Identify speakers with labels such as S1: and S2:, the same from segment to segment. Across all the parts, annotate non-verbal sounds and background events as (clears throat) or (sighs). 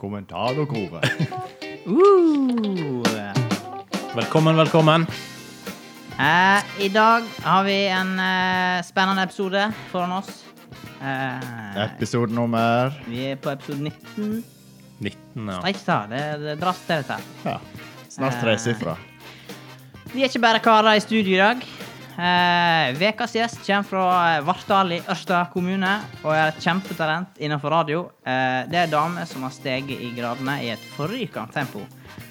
S1: kommentarlokoret.
S2: Uh.
S3: (laughs) Velkommen, velkommen.
S2: Eh, I dag har vi en eh, spennende episode foran oss. Eh,
S1: Episodenummer
S2: vi er på episode 19.
S3: 19, ja.
S2: Streik, da. Det, det dras til dette. her.
S1: ja. Snart tre sifre.
S2: Vi er ikke bare karer i studio i dag. Eh, Vekas gjest kommer fra eh, Vartdal i Ørsta kommune og er et kjempetalent innenfor radio. Eh, det er ei dame som har steget i gradene i et forrykende tempo.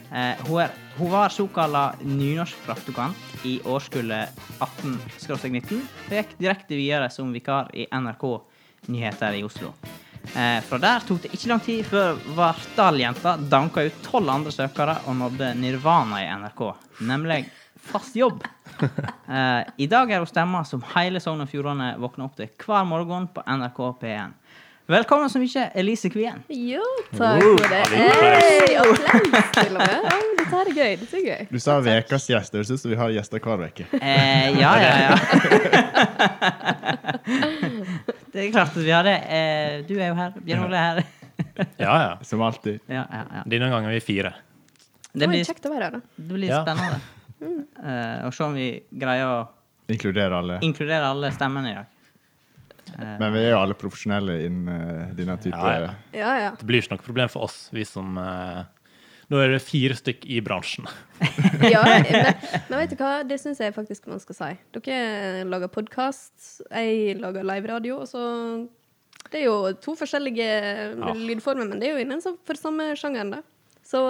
S2: Eh, hun, er, hun var såkalla nynorskpraktikant i årskullet 18-19 og gikk direkte videre som vikar i NRK Nyheter i Oslo. Eh, fra der tok det ikke lang tid før Vartdal-jenta danka ut tolv andre søkere og nådde nirvana i NRK, nemlig fast (laughs) jobb. Eh, I dag er hun stemma som hele Sogn og Fjordane våkner opp til hver morgen på NRK P1. Velkommen så mye, Elise Kvien.
S4: Jo, takk for det. Hei, applaus til (laughs) og med. Oi, Dette her er gøy. Dette er gøy.
S1: Du sa ukas gjester. Det synes vi har gjester hver uke.
S2: Eh, ja, ja, (laughs) ja. Det er klart at vi har det. Eh, du er jo her. Bjørn Ole er her.
S3: ja, ja.
S1: Som alltid.
S2: Ja, ja, ja.
S3: Denne gangen er vi fire.
S2: Det
S4: Oi,
S2: blir,
S4: kjekt å være her, da.
S2: det blir
S3: Ja.
S2: spennende. Eh, og se om vi greier å
S1: Inkluderer alle.
S2: inkludere alle stemmene i dag.
S1: Men vi er jo alle profesjonelle innen eh, denne type
S3: Ja, ja.
S4: Ja, ja.
S3: Det blir ikke noe problem for oss, vi som eh, Nå er det fire stykk i bransjen.
S4: (laughs) ja men, men vet du hva, det syns jeg faktisk man skal si. Dere lager podkast, jeg lager liveradio, og så Det er jo to forskjellige lydformer, men det er jo innenfor for samme sjangeren, da. Så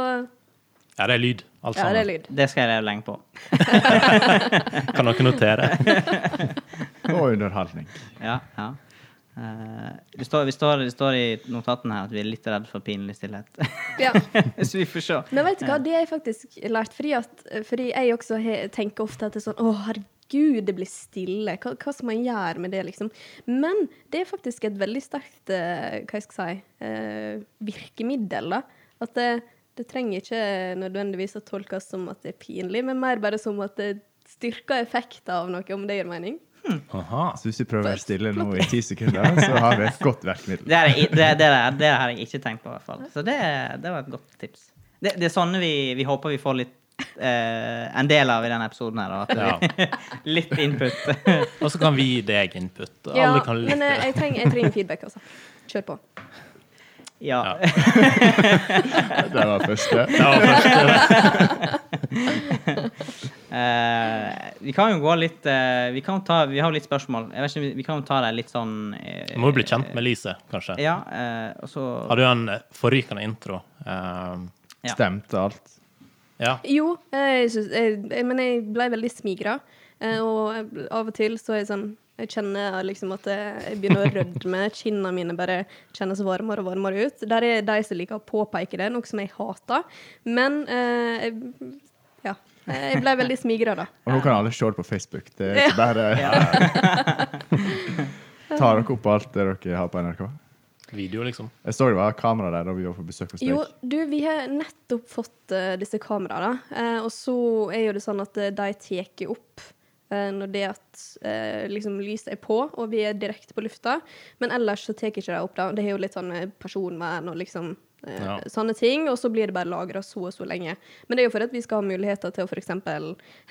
S3: Ja, det er lyd. Alt
S4: ja, det er
S3: sammen.
S4: lyd.
S2: Det skal jeg leve lenge på.
S3: Kan dere notere?
S4: (laughs)
S1: og underholdning.
S2: Ja, ja. Eh, det, står, vi står, det står i notatene her at vi er litt redd for pinlig stillhet. (laughs)
S4: Ja.
S2: Så vi får se.
S4: Men vet du hva, det har jeg faktisk lært, fordi, at, fordi jeg også he, tenker ofte at det er sånn Å, herregud, det blir stille. Hva, hva skal man gjøre med det, liksom? Men det er faktisk et veldig sterkt eh, hva jeg skal si, eh, virkemiddel. da. At det, det trenger ikke nødvendigvis å tolkes som at det er pinlig, men mer bare som at det styrker effekten av noe, om det gir mening.
S3: Aha.
S1: Så hvis vi prøver å være stille nå i ti sekunder, så har vi et godt virkemiddel.
S2: Det, er, i- det, det, er, det har jeg ikke tenkt på, i hvert fall. Så det, det var et godt tips. Det, det er sånne vi, vi håper vi får litt eh, en del av i denne episoden her. da, At vi, (laughs) litt input. (laughs)
S3: Og så kan vi gi deg input.
S4: Ja,
S3: Alle kan
S4: men eh,
S3: lytte.
S4: jeg trenger, jeg trenger feedback, altså. Kjør på.
S2: ja.
S3: Ja.
S1: Det var første.
S3: Det var første.
S2: Eh, vi kan jo gå litt eh, vi, kan jo ta, vi har jo litt spørsmål. Jeg vet ikke, vi, vi kan jo ta det litt sånn eh,
S3: Du må jo bli kjent med Lise, kanskje.
S2: Ja, eh, og så
S3: Har du en eh, forrykende intro? Eh,
S2: Ja.
S1: Stemte alt.
S3: ja.
S4: Jo, jeg synes, jeg, jeg- men jeg ble veldig smigra. eh, Og jeg- av og til så er jeg sånn Jeg kjenner liksom at jeg jeg begynner å rødme. Kinnene mine bare kjennes varmere og varmere ut. Der er de som liker å påpeke det, noe som jeg hater. Men eh, jeg, ja. Jeg ble veldig smigra, da.
S1: Og nå kan alle se det på Facebook. Det er ikke bare (laughs) Tar dere opp alt det dere har på NRK?
S3: Video, liksom.
S1: Jeg så det var kamera der da vi var på besøk hos deg.
S4: Jo, du, vi har nettopp fått eh, disse kameraene. eh, og så er jo det sånn at eh, de tar opp eh, når det at eh, liksom lyset er på, og vi er direkte på lufta. Men ellers så tar ikke de opp det. Det er jo litt sånn eh, personvern og liksom eh,
S3: Ja.
S4: sånne ting. Og så blir det bare lagra så og så lenge. Men det er jo for at vi skal ha muligheter til å f.eks.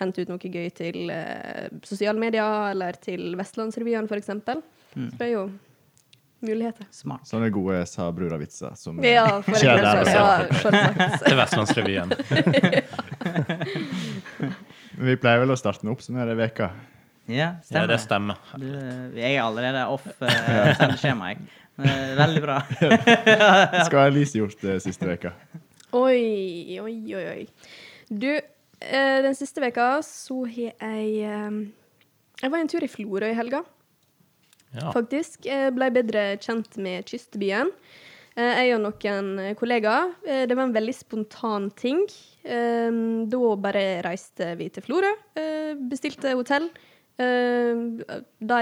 S4: hente ut noe gøy til eh, sosiale medier, eller til Vestlandsrevyen f.eks. eksempel Så det er jo muligheter.
S2: Smart.
S1: Sånne gode sa brura-vitser som eh,
S4: Ja, for
S1: skjer der og
S4: eksempel.
S1: da.
S4: Ja, selvsagt.
S3: Til Vestlandsrevyen.
S1: Men eh, Vi pleier vel å starte den opp sånn her i veka.
S2: Ja,
S3: Ja,
S2: stemmer.
S3: det stemmer.
S2: Du, jeg er allerede off uh, sendeskjema, jeg. Men, eh, veldig bra.
S1: Skal Elise gjort det siste veka?
S4: Oi, oi, oi. oi. Du, eh, den siste veka så har jeg eh, Jeg var en tur i Florø i helga,
S3: Ja.
S4: faktisk. Eh, Blei bedre kjent med kystbyen. Eh, jeg og noen eh, kollegaer. Eh, det var en veldig spontan ting. Eh, da bare reiste vi til Florø, eh, bestilte hotell. Eh, de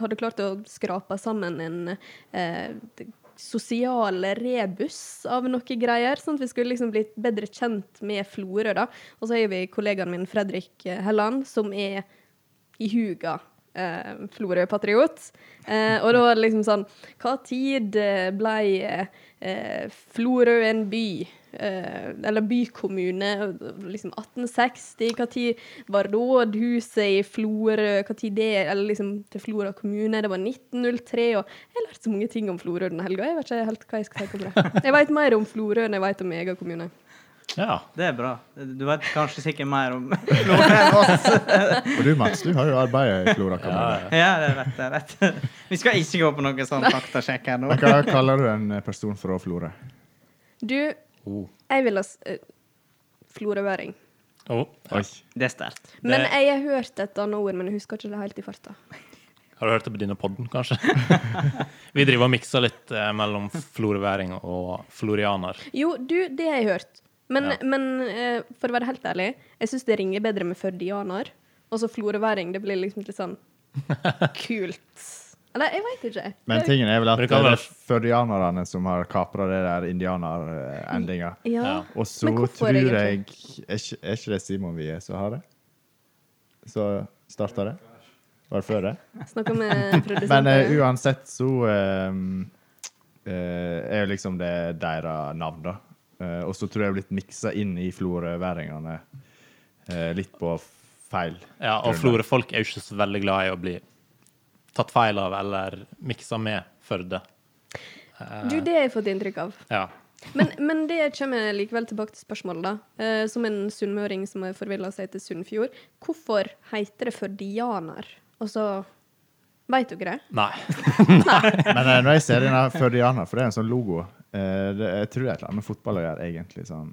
S4: hadde klart å skrape sammen en eh, sosial rebus av noe greier. Sånn at vi skulle liksom bli bedre kjent med Florø, da. Og så har vi kollegaen min Fredrik eh, Helland, som er i huga eh, Florø-patriot. Eh, og da var det liksom sånn Hva tid eh, ble eh, Florø en by? Eh, eller bykommune? Liksom 1860? Hva tid var rådhuset i Florø? Hva tid det Eller liksom til Florø kommune? Det var 1903. Og jeg har lært så mange ting om Florø den helga. Jeg vet ikke helt hva jeg skal tenke om det. Jeg veit mer om Florø enn jeg veit om min egen kommune.
S3: Ja.
S2: Det er bra. Du vet kanskje sikkert mer om
S1: Og du, Mats, du har jo arbeidet i Flora
S3: ja,
S1: kommune.
S3: ja.
S2: (laughs) Ja, det er rett. det er rett. Vi skal ikke gå på noen sånn faktasjekk her nå.
S1: Men Hva kaller du en person fra Florø?
S4: Du,
S3: Oh.
S4: jeg vil ha s- eh, florøværing.
S3: Oh.
S1: Oi.
S2: Det er sterkt.
S4: Men
S3: Det-
S4: jeg har hørt et annet ord, men jeg husker ikke det helt i farta.
S3: Har du hørt det på denne podden,
S2: (laughs)
S3: kanskje? Vi driver og mikser litt eh, mellom florøværing og florianer.
S4: Jo, du, det har jeg hørt. Men,
S3: Ja.
S4: men eh, for å være helt ærlig, jeg syns det ringer bedre med førdianer. Og så florøværing. Det blir liksom litt sånn kult. Eller jeg veit ikke.
S1: Men tingen er vel at
S3: Men det
S1: det
S3: kan
S1: er
S3: være-
S1: førdianerne som har kapra det der indianerendinga.
S4: Ja.
S3: Ja.
S1: Og så
S4: Men hvorfor
S1: tror jeg Er
S4: egentlig?
S1: ikke, er ikke det Simon Wie som har det? Så starta det? Var det før det?
S4: Snakka med
S1: Men eh,
S4: produsenten.
S1: uansett så ehm, eh, er jo liksom det deres navn, da. Eh, og så tror jeg jeg er blitt miksa inn i florøværingene eh, litt på feil.
S3: Ja, og
S1: grunnlag.
S3: florøfolk er jo ikke så veldig glad i å bli tatt feil av eller miksa med Førde.
S4: du, det har jeg fått inntrykk av.
S3: Ja.
S4: Men, men det kommer jeg likevel tilbake til spørsmålet, da. Eh, som en sunnmøring som har forvilla seg til Sunnfjord. Hvorfor heter det førdianer? Og så Veit dere det?
S3: Nei.
S1: Men eh, når jeg ser denne førdianer, for det er en sånn logo eh, det, Jeg tror det er et eller annet med fotball å gjøre, egentlig. sånn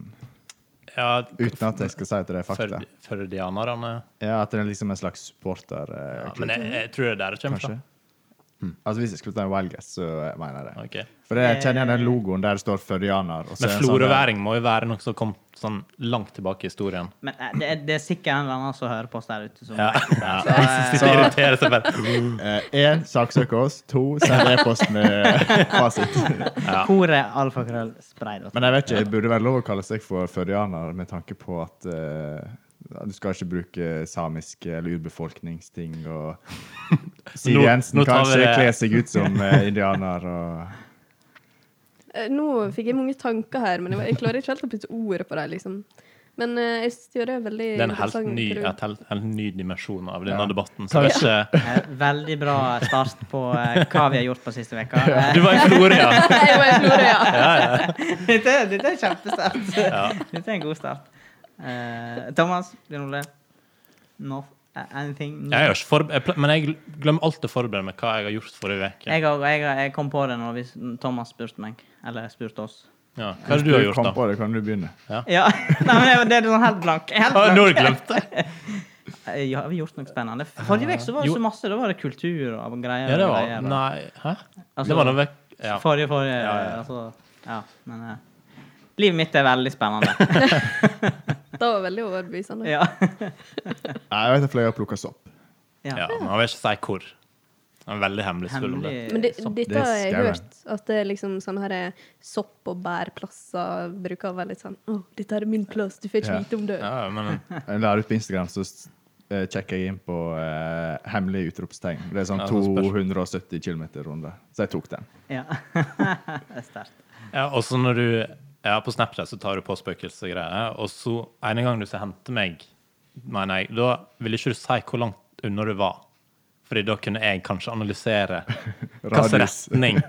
S3: Ja,
S1: Uten at jeg skal si at det er fakta.
S3: Førd- Førdianerne
S1: Ja, At det er liksom en slags supporter... eh,
S3: ja,
S1: klubb,
S3: Men jeg, jeg tror det er der det kommer
S1: kanskje.
S3: fra.
S1: Altså Hvis jeg skulle ta en wild guess, så eh, mener jeg det.
S3: Ok.
S1: For jeg kjenner igjen den logoen der det står Førdianer. og så
S3: Men
S1: er det en sånn der-
S3: florøværing må jo være noe som kom sånn langt tilbake i historien.
S2: Men eh, det er, det er sikkert en eller annen som hører på oss der ute. Som,
S3: Ja. (laughs) Ja.
S2: Så, eh,
S3: Sitter og irriterer seg (laughs) bare.
S1: Én, saksøk Eh, oss. To, send e-post med eh, fasit.
S2: Koret alfakrøll spray.
S1: Men jeg vet ikke, det burde være lov å kalle seg for førdianer med tanke på at eh, du skal ikke bruke samiske eller urbefolkningsting og Siv
S3: Nå-
S1: Jensen
S3: nå tar vi
S1: kanskje
S3: det.
S1: kler seg ut som eh, indianer og
S4: Eh, Nå fikk jeg mange tanker her, men jeg, var- jeg klarer ikke helt å putte ordet på dem. Liksom. Men eh, jeg synes det er veldig
S3: Det er en helt
S4: interessant
S3: ny,
S4: grunn. (laughs)
S3: et helt, en ny dimensjon av denne
S1: Ja.
S3: debatten. Så jeg vet ikke,
S2: Eh, Veldig bra start på eh, hva vi har gjort på siste veka Eh, (laughs)
S3: du var i Florø, ja.
S4: Jeg var i
S1: (laughs)
S4: Florø, ja.
S2: Dette er- dette er kjempesterkt. Dette er en god start. Eh, Thomas, Bjørn Ole, North, eh, anything?
S3: Jeg har ikke forber- jeg ple- men jeg glemmer alltid å forberede meg hva jeg har gjort forrige uke.
S2: Jeg, har- jeg, har- jeg kom på det når vi, Thomas spurte meg. Eller spurte oss.
S3: Ja. Hva er det du har gjort,
S1: kom
S3: da?
S1: på det, kan du begynne?
S2: Ja, (laughs) Nei, men det er sånn helt blank. Helt
S3: Ah,
S2: blank.
S3: Nå har jeg glemt det!
S2: Eh, (laughs) Ja, har vi gjort noe spennende? Forrige uke så var det
S3: Jo.
S2: så masse. Da var det kultur og greier.
S3: Ja, det
S2: og
S3: var
S2: greier, og-
S3: Nei, hæ?
S2: Altså-
S3: Det var noe vekk... Ja.
S2: Forrige, forrige
S3: Ja, ja, ja.
S2: Altså, ja, men eh, Livet mitt er veldig
S3: (laughs)
S2: spennende.
S4: Det var veldig overbevisende.
S2: ja.
S1: Nei, jeg vet jeg fløy og plukka sopp.
S3: Ja, men jeg vil ikke si hvor. Jeg er veldig hemmelighetsfull om det.
S2: Hemmelig sånn.
S4: Men det,
S2: sopp.
S4: dette
S1: det er
S4: har jeg
S1: scary.
S4: hørt, at det er liksom sånne her eh, sopp- og bærplasser bruker å være litt sånn Å, dette er min plass, du får ikke
S1: Ja.
S4: vite om det.
S3: Ja, men
S1: Jeg la det ut Eh, på Instagram, så s- eh, sjekker jeg inn på eh, hemmelige utropstegn. Det er sånn
S3: Ja, sånn spørs-
S1: 270 km-runde. Så jeg tok den.
S2: Ja. (laughs) det er sterkt.
S3: Ja, og så når du ja, På Snapchat så tar du på spøkelsesgreier, og så en gang du skal hente meg, mener jeg, da vil ikke du si hvor langt unna du var. Fordi da kunne jeg kanskje analysere hvilken
S1: Radius.
S3: retning.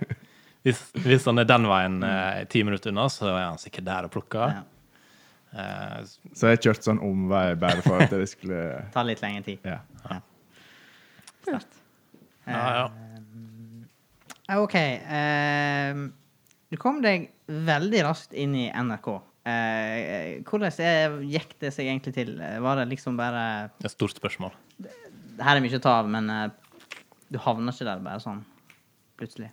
S3: Hvis, hvis han er den veien eh, ti minutter unna, så er han sikkert der og plukker.
S2: Ja.
S3: Eh,
S1: Så jeg kjørte sånn omvei bare for at jeg skulle
S2: Tar litt lengre tid.
S1: ja.
S3: ja, ja.
S2: Eh, OK. ehm, du kom deg veldig raskt inn i NRK. Eh, hvordan er, gikk det seg egentlig til? Var det liksom bare
S3: Et stort spørsmål.
S2: Det her er mye å ta av, men eh, du havner ikke der bare sånn plutselig.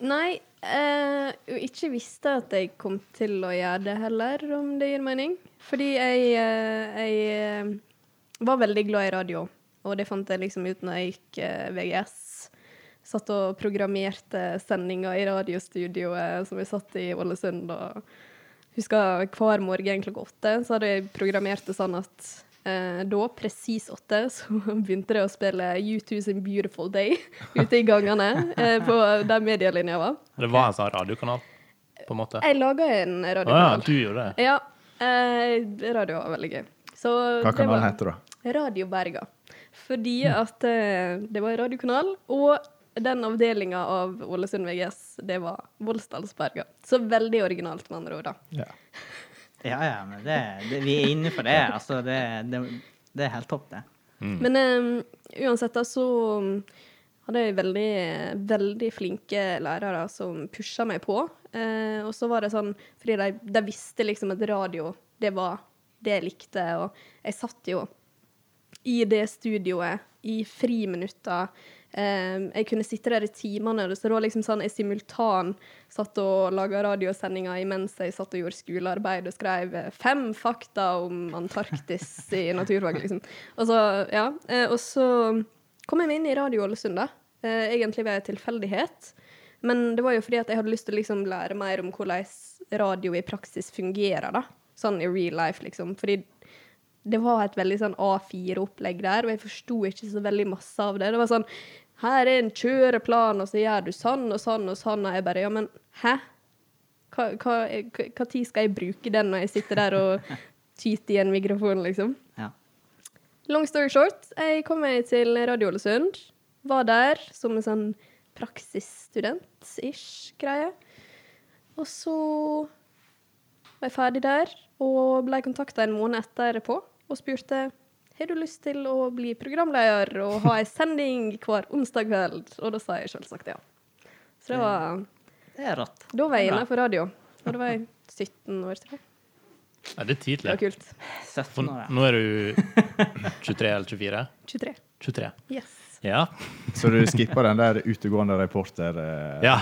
S4: Nei, eh, og ikke visste at jeg kom til å gjøre det heller, om det gir mening. Fordi jeg, eh, jeg eh, var veldig glad i radio, og det fant jeg liksom ut når jeg gikk eh, VGS. Satt og programmerte sendinger i radiostudioet som jeg satt i Ålesund. og husker hver morgen klokka åtte så hadde jeg programmert det sånn at Eh, da, presis åtte, (laughs) så begynte de å spille U2 sin 'Beautiful Day' ute i gangene eh, på der medielinja var.
S3: Det var en sånn radiokanal, på en måte. Å
S4: Jeg laga en
S3: ja,
S4: radiokanal.
S3: du gjorde det.
S4: Ja. Eh, radio var veldig gøy. Så
S1: Hva
S4: det
S1: kanalen
S4: var-
S1: heter da?
S4: Radio Berga. Fordi at eh, det var en radiokanal, og den avdelinga av Ålesund VGS, det var Voldsdalsberga. Så veldig originalt, med andre ord. da.
S1: Ja.
S2: Ja, ja, men det, det, vi er inne for det. Altså, det, det, det er helt topp, det.
S4: Men eh, uansett, da, så um, hadde jeg veldig, veldig flinke lærere som pusha meg på. Eh, og så var det sånn, fordi de, de visste liksom at radio, det var det jeg likte, og jeg satt jo i det studioet i friminutter. Um, jeg kunne sitte der i timene. Så det var liksom sånn jeg simultan satt og laga radiosendinger imens jeg satt og gjorde skolearbeid og skrev eh, fem fakta om Antarktis i naturfag, liksom. Og så, ja. eh, og så kom jeg meg inn i Radio Ålesund, da. Eh, egentlig ved en tilfeldighet. Men det var jo fordi at jeg hadde lyst til å liksom lære mer om hvordan radio i praksis fungerer, da. Sånn i real life, liksom. Fordi det var et veldig sånn A4-opplegg der, og jeg forsto ikke så veldig masse av det. Det var sånn Her er en kjøreplan, og så gjør du sånn og sånn og sånn, og jeg bare Ja, men hæ? Hva, hva, hva, hva tid skal jeg bruke den når jeg sitter der og tyter i en mikrofon, liksom?
S2: Ja.
S4: Long story short, jeg kom meg til Radio Ålesund. Var der som en sånn praksisstudent-ish greie. Og så var jeg ferdig der og ble kontakta en måned etterpå og spurte har du lyst til å bli programleder og ha ei sending hver onsdag kveld. Og da sa jeg selvsagt ja. Så det var,
S2: Det er rått.
S4: da var jeg
S2: Bra.
S4: innafor radio. Og da var jeg 17 år, tror jeg.
S3: Ja, det er
S4: Det var
S3: tidlig.
S4: kult.
S2: 17
S3: For
S2: år, ja.
S3: nå er du
S2: (laughs)
S3: 23 eller 24?
S4: 23.
S3: 23.
S4: Yes.
S3: Ja.
S1: Så du skipper den der utegående reporter... eh,
S3: ja.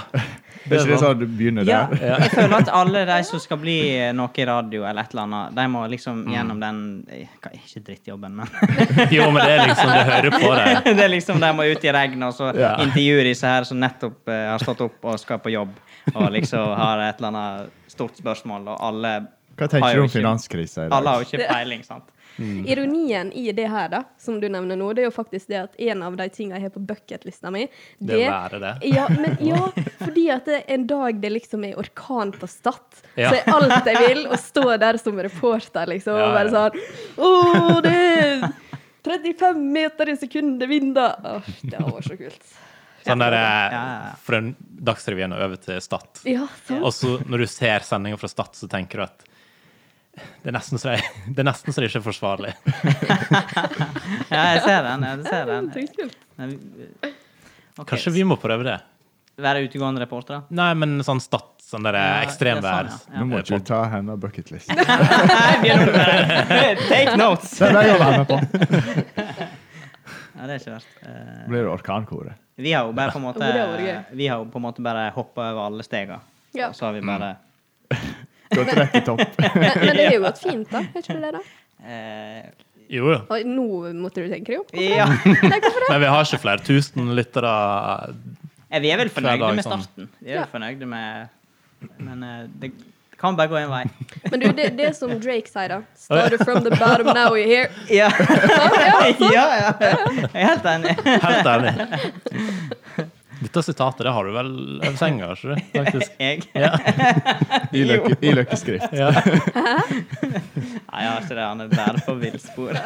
S1: Det er ikke det sånn du begynner
S2: Ja,
S1: der?
S2: jeg føler at alle de som skal bli noe i radio eller et eller annet, de må liksom gjennom den eh, hva- Ikke drittjobben, men
S3: (laughs) Jo, men det er liksom Det hører på deg.
S2: (laughs) det er liksom de må ut i regnet og så
S3: Ja.
S2: intervjue disse her som nettopp eh, har stått opp og skal på jobb, og liksom har et eller annet stort spørsmål, og alle
S1: Hva
S2: har
S1: tenker du
S2: jo
S1: om
S2: ikke-
S1: finanskrisa i
S2: Alle har
S1: dag?
S2: jo ikke peiling, sant?
S3: Mm.
S4: Ironien i det her, da, som du nevner nå, det er jo faktisk det at en av de tingene jeg har på bucketlista mi,
S3: Det å være det.
S4: Ja, men
S3: (laughs)
S4: ja, fordi at det er en dag det liksom er orkan på Stad,
S3: Ja.
S4: så er alt jeg vil å stå der som reporter, liksom,
S3: Ja,
S4: og
S3: ja.
S4: være sånn Å, det er 35 meter i sekundet vinda! Åh, det var så kult.
S3: Sånn der eh,
S2: Ja, ja, ja.
S3: fra Dagsrevyen og over til Stad.
S4: Ja, sånn.
S3: Og så når du ser sendinga fra Stad, så tenker du at det er nesten så det, det, er nesten så det ikke er forsvarlig.
S2: Ja, jeg ser den. Jeg ser den.
S4: Dritkult.
S2: Men, eh, ok,
S3: Kanskje vi må prøve det?
S2: Være utegående reportere? (laughs)
S3: Nei, men sånn Stad, sånn der eh,
S2: Ja,
S3: ekstremvær.
S2: det er sånn,
S1: Nå må
S3: eh,
S1: ikke
S3: på-
S1: du ta henne av bucketlist.
S2: Take notes!
S1: Den er jeg å være med på.
S2: Ja, det er ikke verst. Eh,
S1: Blir det orkankoret?
S2: Vi har jo bare på en
S4: Det hadde vært
S2: måte
S4: gøy.
S2: Vi har jo på en måte bare hoppa over alle stega.
S4: Ja.
S2: Og så har vi bare
S1: Gått rett i
S2: (laughs)
S1: topp.
S4: Men, men det er jo gått fint, da. Er ikke det det, da?
S2: eh,
S3: Jo, jo.
S4: Og nå måtte du tenke deg opp.
S2: Ja.
S4: Nei, hvorfor det?
S3: Men vi har ikke flere tusen lyttere.
S2: Eh, Vi er vel fornøyde
S3: dag,
S2: med
S1: liksom.
S3: sånn.
S2: starten. Vi er
S4: Ja.
S2: vel fornøyde med Men eh, det kan bare gå en vei.
S4: Men du, det, det er som Drake sier, da. Started from the bottom, now we're here.
S2: (laughs) Ja,
S4: Sånn, (laughs) ja.
S2: ja, ja. Jeg er helt enig.
S3: Helt ærlig. Dette sitatet det har du vel over senga, ikke du? Faktisk.
S1: (laughs)
S2: Jeg
S1: I løkke- i løkkeskrift.
S3: Ja.
S2: Nei, jeg har ikke det. Han er bare på
S4: (laughs)
S2: villspor.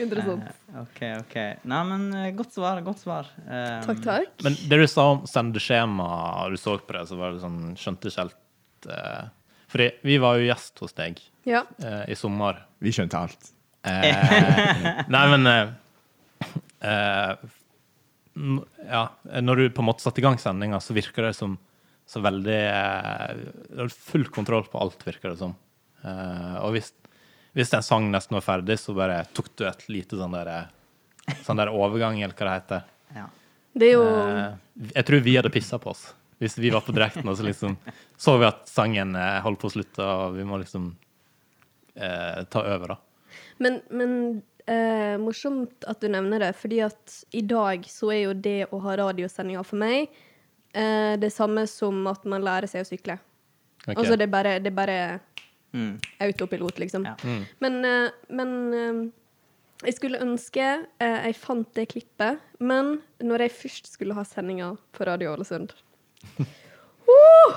S4: Interessant.
S3: Eh,
S2: OK, OK. Nei, men eh, godt svar. Godt svar. Eh,
S4: Takk,
S3: mm.
S4: takk.
S3: Men det du sa om sendeskjema, du så på det, så var det sånn skjønte ikke helt eh, Fordi vi var jo gjest hos deg
S4: Ja.
S3: eh, i sommer.
S1: Vi skjønte alt.
S3: Eh, nei, men eh, eh, n- Ja, når du på en måte satte i gang sendinga, så virker det som så veldig eh, Du har full kontroll på alt, virker det som. Eh, og hvis, hvis en sang nesten var ferdig, så bare tok du et lite sånn der, eh, sånn der overgang, eller hva det heter.
S2: Ja.
S4: Det er jo
S3: Eh, jeg tror vi hadde pissa på oss. Hvis vi var på direkten og så liksom så vi at sangen eh, holdt på å slutte, og vi må liksom eh, ta over, da.
S4: Men, men eh, morsomt at du nevner det, fordi at i dag så er jo det å ha radiosendinger for meg eh, det samme som at man lærer seg å sykle.
S3: Ok.
S4: Altså det er bare, det er bare
S2: Mm.
S4: autopilot, liksom.
S2: Ja.
S4: Men, eh, men eh, jeg skulle ønske eh, jeg fant det klippet, men når jeg først skulle ha sendinga på Radio
S3: (laughs)
S4: Ålesund Woo!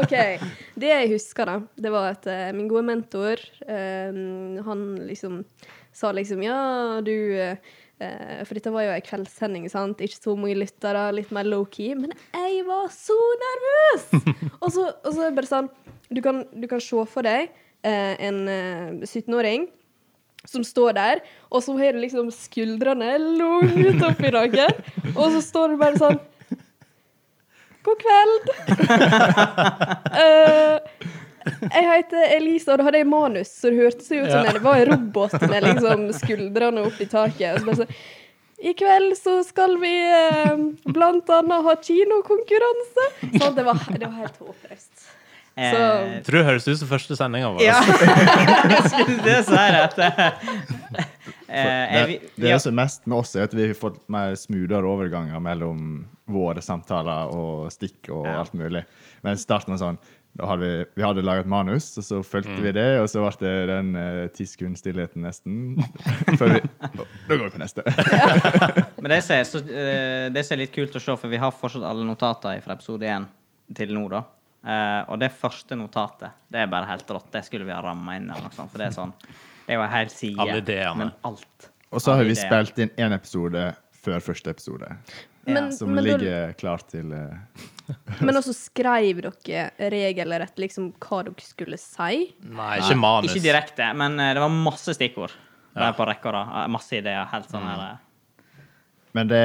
S4: (laughs) OK. Det jeg husker, da, det var at eh, min gode mentor, eh, han liksom sa liksom Ja, du eh, eh, For dette var jo ei kveldssending, sant? Ikke så mange lyttere, litt mer low-key. Men jeg var så nervøs! og, så, og så er det bare sånn Du kan, du kan se for deg eh, en eh, 17-åring som står der, og så har du liksom skuldrene langt opp i nakken, og så står du bare sånn God kveld! Eh, jeg heter Elise, og da hadde jeg manus, så det hørtes jo ut som
S3: Ja.
S4: jeg var en robot med liksom skuldrene opp i taket. Og så bare sånn i kveld så skal vi eh, blant annet ha kinokonkurranse. Så det var, det var helt håpløst.
S2: Eh,
S3: Tror det høres ut som første
S4: (laughs)
S3: sendinga vår.
S2: (laughs) Ja! jeg skulle til å si (laughs) dette.
S1: Det,
S2: Eh, jeg, vi-
S1: det er
S2: ja.
S1: også mest med oss er at vi har fått mer smoothere overganger mellom våre samtaler og stikk og
S2: Ja.
S1: alt mulig. Men starten var sånn da hadde vi, vi hadde laget manus, og så
S2: Mm.
S1: fulgte vi det. Og så ble det den eh, ti sekunds stillheten nesten. (laughs) Før vi Å, Da går vi på neste.
S2: (laughs) Men det som er så- eh, det som er litt kult å se, for vi har fortsatt alle notater fra episode 1 til nå, da. Eh, og det første notatet, det er bare helt rått. Det skulle vi ha ramma inn, eller noe sånt. For det er sånn Det var helt side.
S3: Alle ideene.
S2: Men alt.
S1: Og så har
S2: Alle
S1: vi
S2: ideer.
S1: spilt inn én episode før første episode,
S4: Men,
S1: som
S4: men, da,
S1: ligger klar til eh,
S4: men også skrev dere regelrett liksom hva dere skulle si.
S3: Nei, ikke manus.
S2: Ikke direkte, men eh, det var masse stikkord. Bare på rekke og rad. Eh, Masse ideer. Helt sånn her eh,
S1: Men det,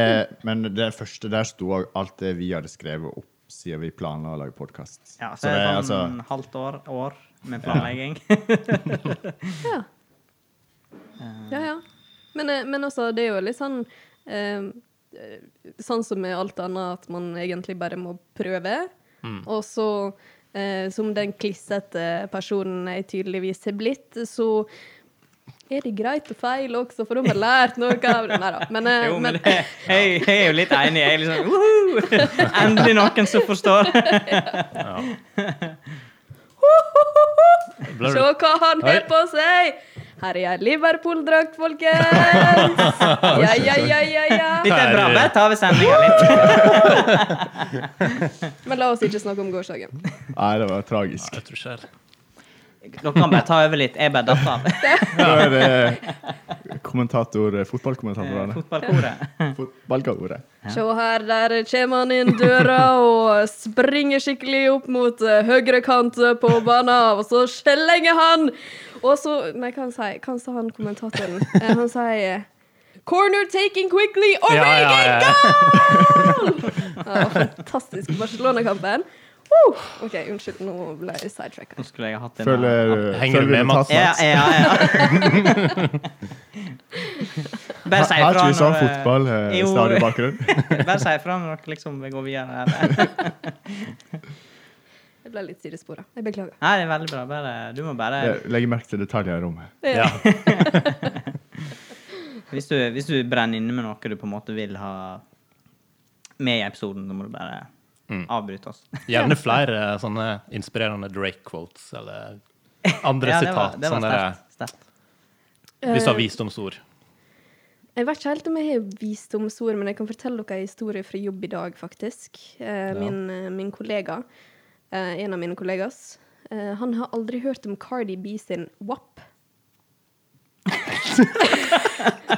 S1: men det første der sto også alt det vi hadde skrevet opp siden vi planla å lage podkast.
S2: Ja, så, det er
S1: altså-
S2: sånn
S3: altså-
S2: halvt år, år med planlegging.
S4: Ja. Ja, ja. Men, eh, men også, det er jo litt sånn eh, eh, Sånn som med alt annet, at man egentlig bare må prøve.
S2: Mm.
S4: Og så, eh, som den klissete personen jeg tydeligvis har blitt, så er det greit å feile også, for de har lært noe av det. Nei da. Men, eh,
S2: (laughs) Jo, men
S4: men
S2: det,
S4: (laughs)
S2: jeg, jeg er jo litt enig. Jeg er liksom
S3: (laughs)
S2: «Woohoo! Endelig noen som forstår.
S3: Ble
S4: se
S3: du-
S4: hva han
S3: Oi.
S4: har på seg! Her er jeg Liverpool-drakt,
S2: (laughs)
S4: folkens! Ja, ja, ja, ja, ja.
S2: Dette er bra. Bare ta over sendinga litt.
S4: Men la oss ikke snakke om gårsdagen.
S1: Nei, det var tragisk.
S3: (laughs) Jeg tror ikke det.
S2: Dere kan bare ta over litt. Jeg bare datt av.
S1: Da er det eh, kommentator,
S3: Eh,
S1: fotballkommentatorene.
S2: Fotballkoret.
S1: Fotballkoret.
S4: Se her, der kommer han inn døra og springer skikkelig opp mot eh, høyre kant på banen, og så slenger han! Og så Nei, hva han sier hva han? sa han kommentatoren? Eh, Han sier Corner taken quickly,
S3: Ja,
S4: Origi
S3: ja, ja.
S4: goal! Ja, fantastisk Barcelona-kampen. Woo! OK, unnskyld, nå ble jeg sidetracka.
S2: Nå skulle jeg hatt en eh,
S1: Følger,
S3: Henger du med, Mats?
S2: Ja,
S1: (laughs)
S2: ja, ja. Bare si
S1: Har
S2: ifra
S1: ikke vi sånn
S2: når eh,
S1: fotball eh,
S2: Jo.
S1: stadig i bakgrunnen?
S2: (laughs) Bare si ifra når dere liksom vil gå videre. Eller.
S4: Jeg ble litt sidespora. Jeg beklager.
S2: Nei, det er veldig bra. Bare, du må bare
S1: Legger merke til detaljer i rommet.
S3: Ja.
S2: hvis du, hvis du brenner inne med noe du på en måte vil ha med i episoden, så må du bare
S3: Mm.
S2: avbryte oss.
S3: Gjerne flere sånne inspirerende Drake-quotes eller andre
S2: Ja, det var,
S3: sitat.
S2: det var
S3: sånne der,
S2: sterkt. sterkt.
S3: hvis du har visdomsord.
S4: Jeg vet ikke helt om jeg har visdomsord, men jeg kan fortelle dere en historie fra jobb i dag, faktisk. Eh, min, eh, min kollega, eh, en av mine kollegas, eh, han har aldri hørt om Cardi B sin WAP.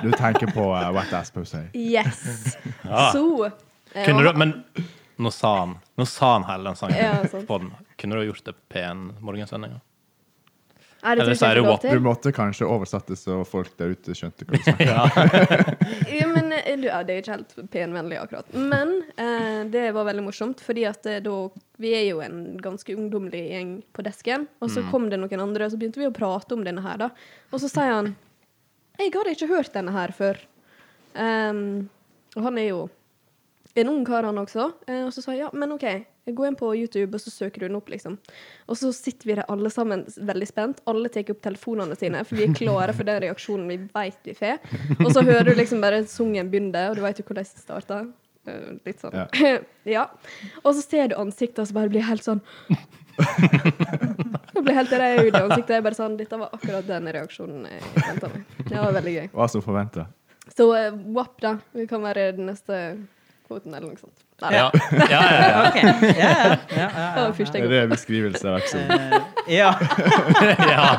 S1: Du tenker på uh, Wet Ass Pussy.
S3: (laughs)
S4: Yes!
S3: Ja.
S4: Så eh,
S3: Kunne
S4: og
S3: du, men nå sa han Nå sa han hele den sangen.
S4: Ja, sant.
S3: på den. Kunne du ha gjort det på en morgensending? ja?
S4: han- Nei, det
S3: eller
S4: tror
S3: så er
S4: jeg
S3: det
S4: ikke jeg får lov
S3: WAP.
S1: Du
S4: til.
S1: måtte kanskje oversette så folk der ute skjønte hva du sa.
S2: (laughs)
S4: Ja, men eh, du, ja, det er ikke helt penvennlig akkurat. Men eh, det var veldig morsomt, fordi at eh, da Vi er jo en ganske ungdommelig gjeng på desken, og
S3: Mm.
S4: så kom det noen andre, og så begynte vi å prate om denne her, da. Og så sier han Jeg hadde ikke hørt denne her før. Ehm, og han er jo en ung kar, han også. Eh, og så sa jeg ja, men OK, gå inn på YouTube, og så søker du den opp, liksom. Og så sitter vi der alle sammen veldig spent. Alle tar opp telefonene sine, for vi er klare for den reaksjonen vi veit vi får. Og så hører du liksom bare sungen begynne, og du veit jo hvordan det starter. Eh, Litt sånn.
S1: Ja.
S4: (laughs) Ja. Og så ser du ansiktet, og så bare blir jeg helt sånn Jeg blir helt rød i ansiktet. Jeg bare sånn, Dette var akkurat den reaksjonen jeg venta meg. Det var veldig gøy.
S1: Hva som forventa.
S4: Så eh, WAP, da. Vi kan være den neste kvoten, eller noe sånt. Nei,
S3: Ja, ja, ja, ja. (laughs)
S2: OK. Ja, ja. ja, ja,
S4: det var første
S1: Det
S4: jeg
S1: er
S4: kom.
S1: det beskrivelse av episoden.
S2: Eh, ja.
S3: ja.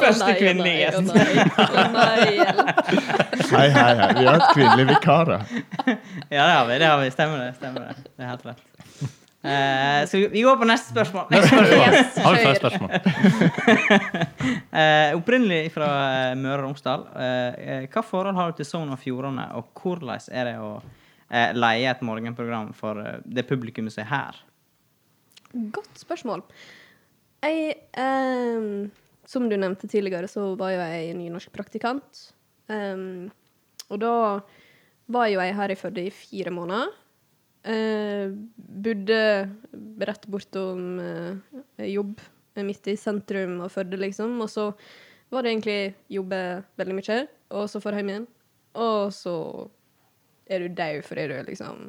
S2: Første
S4: Å nei, å
S2: kvinnelige
S4: nei, å
S2: gjest.
S4: nei, å nei, hjelp.
S1: Hei, hei, hei. Vi har hatt kvinnelige vikarer.
S2: Ja, det har vi. det har vi. Stemmer det. stemmer Det Det er helt rett. Eh, skal vi, vi går på neste spørsmål.
S4: Yes,
S3: Har du flere
S4: kjør.
S3: spørsmål?
S2: (laughs) Eh, opprinnelig fra eh, Møre og Romsdal. Eh, eh, hva forhold har du til Sogn og Fjordane, og hvordan er det å eh, leie et morgenprogram for eh, det publikummet som er her?
S4: Godt spørsmål. Jeg, ehm, som du nevnte tidligere, så var jo jeg nynorsk praktikant. Ehm, og da var jo jeg her i Førde i fire måneder. Eh, bodde rett bortom eh, jobb, eh, midt i sentrum av Førde, liksom. Og så var det egentlig jobbe veldig mye, og så får jeg hjem igjen. Og så er du daud fordi du har liksom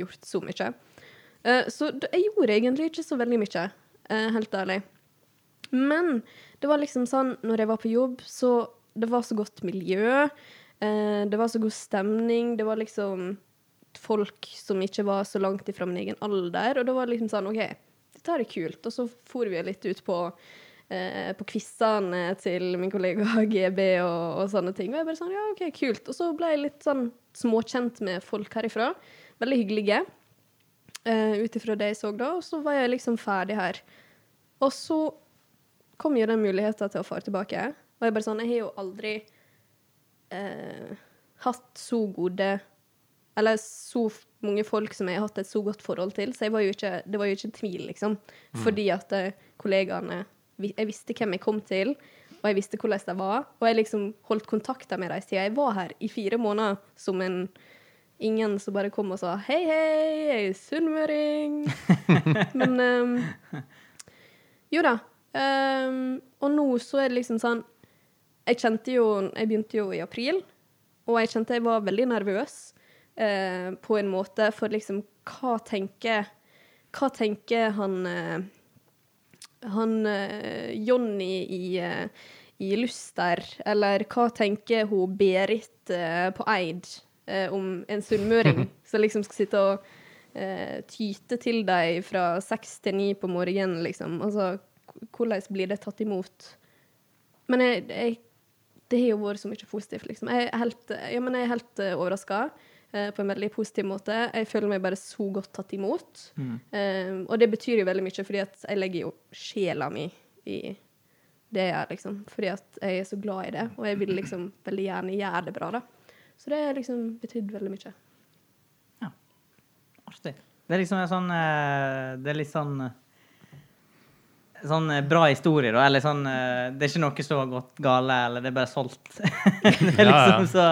S4: gjort så mye. Eh, så d- jeg gjorde egentlig ikke så veldig mye, eh, helt ærlig. Men det var liksom sånn når jeg var på jobb, så det var så godt miljø. eh, det var så god stemning. Det var liksom folk som ikke var så langt ifra min egen alder. Og det var liksom sånn OK, dette her er kult. Og så for vi litt ut på eh, på quizene til min kollega (laughs) GB og, og sånne ting. Og jeg bare sånn, ja, ok, kult. Og så ble jeg litt sånn småkjent med folk herifra. Veldig hyggelige. Uh, Ut ifra det jeg så da. Og så var jeg liksom ferdig her. Og så kom jo den muligheten til å fare tilbake. Og jeg bare sånn, jeg har jo aldri eh, hatt så gode Eller så f- mange folk som jeg har hatt et så godt forhold til, så jeg var jo ikke, det var jo ikke tvil, liksom. Fordi at eh, kollegaene vi- Jeg visste hvem jeg kom til, og jeg visste hvordan de var. Og jeg liksom holdt kontakten med dem siden jeg var her i fire måneder som en Ingen som bare kom og sa 'hei, hei, jeg er sunnmøring'. Men ehm, jo da. Ehm, og nå så er det liksom sånn Jeg kjente jo Jeg begynte jo i april, og jeg kjente jeg var veldig nervøs eh, på en måte for liksom Hva tenker Hva tenker han eh, Han eh, Jonny i eh, i Luster, eller hva tenker hun Berit eh, på Eid eh, om en sunnmøring som liksom skal sitte og eh, tyte til deg fra seks til ni på morgenen, liksom. Altså, k- hvordan blir det tatt imot? Men jeg, jeg, det har jo vært så mye positivt, liksom. Jeg er helt, ja, men jeg er helt overraska på en veldig positiv måte. Jeg føler meg bare så godt tatt imot. Eh, og det betyr jo veldig mye, fordi at jeg legger jo sjela mi i det jeg gjør, liksom. Fordi at jeg er så glad i det, og jeg vil liksom veldig gjerne gjøre det bra, da. Så det har liksom betydd veldig mye.
S2: Artig. Det er liksom en sånn eh, Det er litt sånn eh, Sånn eh, bra historie, da. Eller sånn eh, Det er ikke noe som har gått gale, eller det er bare solgt. (laughs) det er
S3: Ja, ja.
S2: liksom så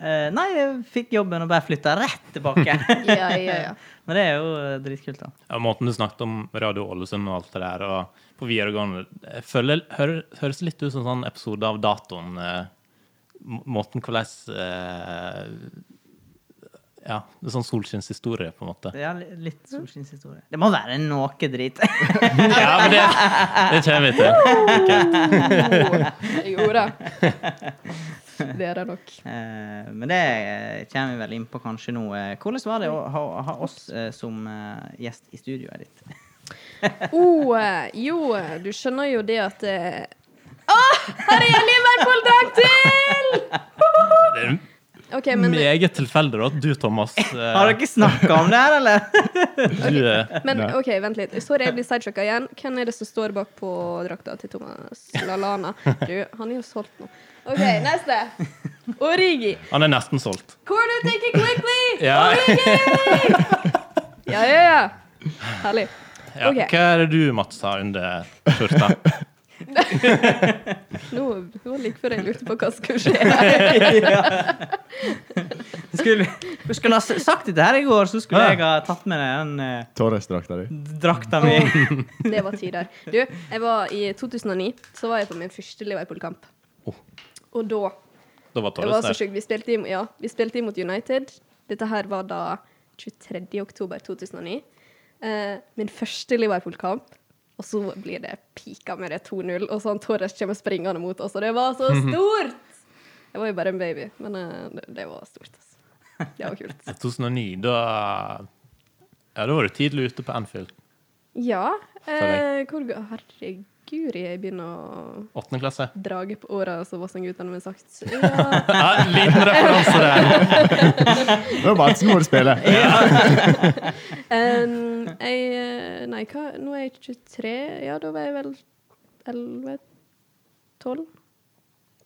S2: eh, Nei, jeg fikk jobben og bare flytta rett
S3: (laughs)
S2: tilbake.
S4: Ja, ja, ja.
S2: Men det er jo eh, dritkult, da.
S3: Ja, måten du snakket om Radio Ålesund og alt det der, og på videregående jeg føler, hør, Høres litt ut som en sånn episode av Datoen. Eh, må- måten hvordan eh, Ja, en sånn solskinnshistorie, på en
S2: (laughs)
S3: måte.
S2: Det er li- litt solskinnshistorie. Det må være noe
S3: (laughs)
S2: drit.
S3: Ja, men det, (laughs) det kommer vi til. Ok.
S4: (laughs) Jo da. Det er det nok.
S2: Eh, Men det eh, kommer vi vel inn på kanskje nå. Eh, Hvordan var det å ha, ha oss eh, som eh, gjest i studioet ditt?
S4: Oh, eh, jo, eh, du skjønner jo det at eh, Å, her er jeg Liverpool-dag til!
S3: Det er
S4: OK, men,
S3: meget tilfeldig da, at du, Thomas
S2: Har
S3: eh,
S2: dere snakka om det her, eller?
S3: du, eh,
S4: men
S1: Nei.
S4: OK, vent litt. Sorry, jeg blir sideshocka igjen. Hvem er det som står bak på drakta til Thomas Lalana? Du, han er jo solgt nå. OK, neste. Origi.
S3: Han er nesten solgt.
S4: Corner taking quickly!
S3: Ja.
S4: Ja, ja, ja. Herlig.
S3: Ja,
S4: Ok.
S3: Hva er det du, Mats, har under skjorta?
S4: Nå det var like før jeg lurte på hva som skulle skje. her.
S2: Skulle, du skulle ha s- sagt dette her i går, så skulle jeg ha tatt med deg den eh,
S1: Torres-drakta di.
S2: drakta mi.
S4: Det var tider. Du, jeg var i 2009 så var jeg på min første Liverpool-kamp.
S3: Oh.
S4: Og da
S3: Da var
S4: Det var
S3: Torres
S4: så
S3: der.
S4: sjukt. Vi spilte, im- ja, vi spilte imot United. Dette her var da 23. oktober 2009. Eh, min første Liverpool-kamp. Og så blir det pika med det 2-0, og sånn Torres kommer springende mot oss, og det var
S3: (laughs)
S4: så stort! Jeg var jo bare en baby, men eh, det, det var stort. Altså. Det var
S3: (laughs)
S4: kult.
S3: 2009, da Ja, da var du tidlig ute på Anfield.
S4: Ja. Eh,
S3: deg.
S4: hvor, herregud, jeg begynner å
S3: Åttende klasse.
S4: drage på åra, som Vassendgutane
S2: (laughs)
S4: ville sagt. Ja.
S3: Ja, en liten referanse der.
S1: Det var bare at nå må du spille.
S4: Um, jeg eh, Nei, hva? Nå er jeg 23. Ja, da var jeg vel 11 12?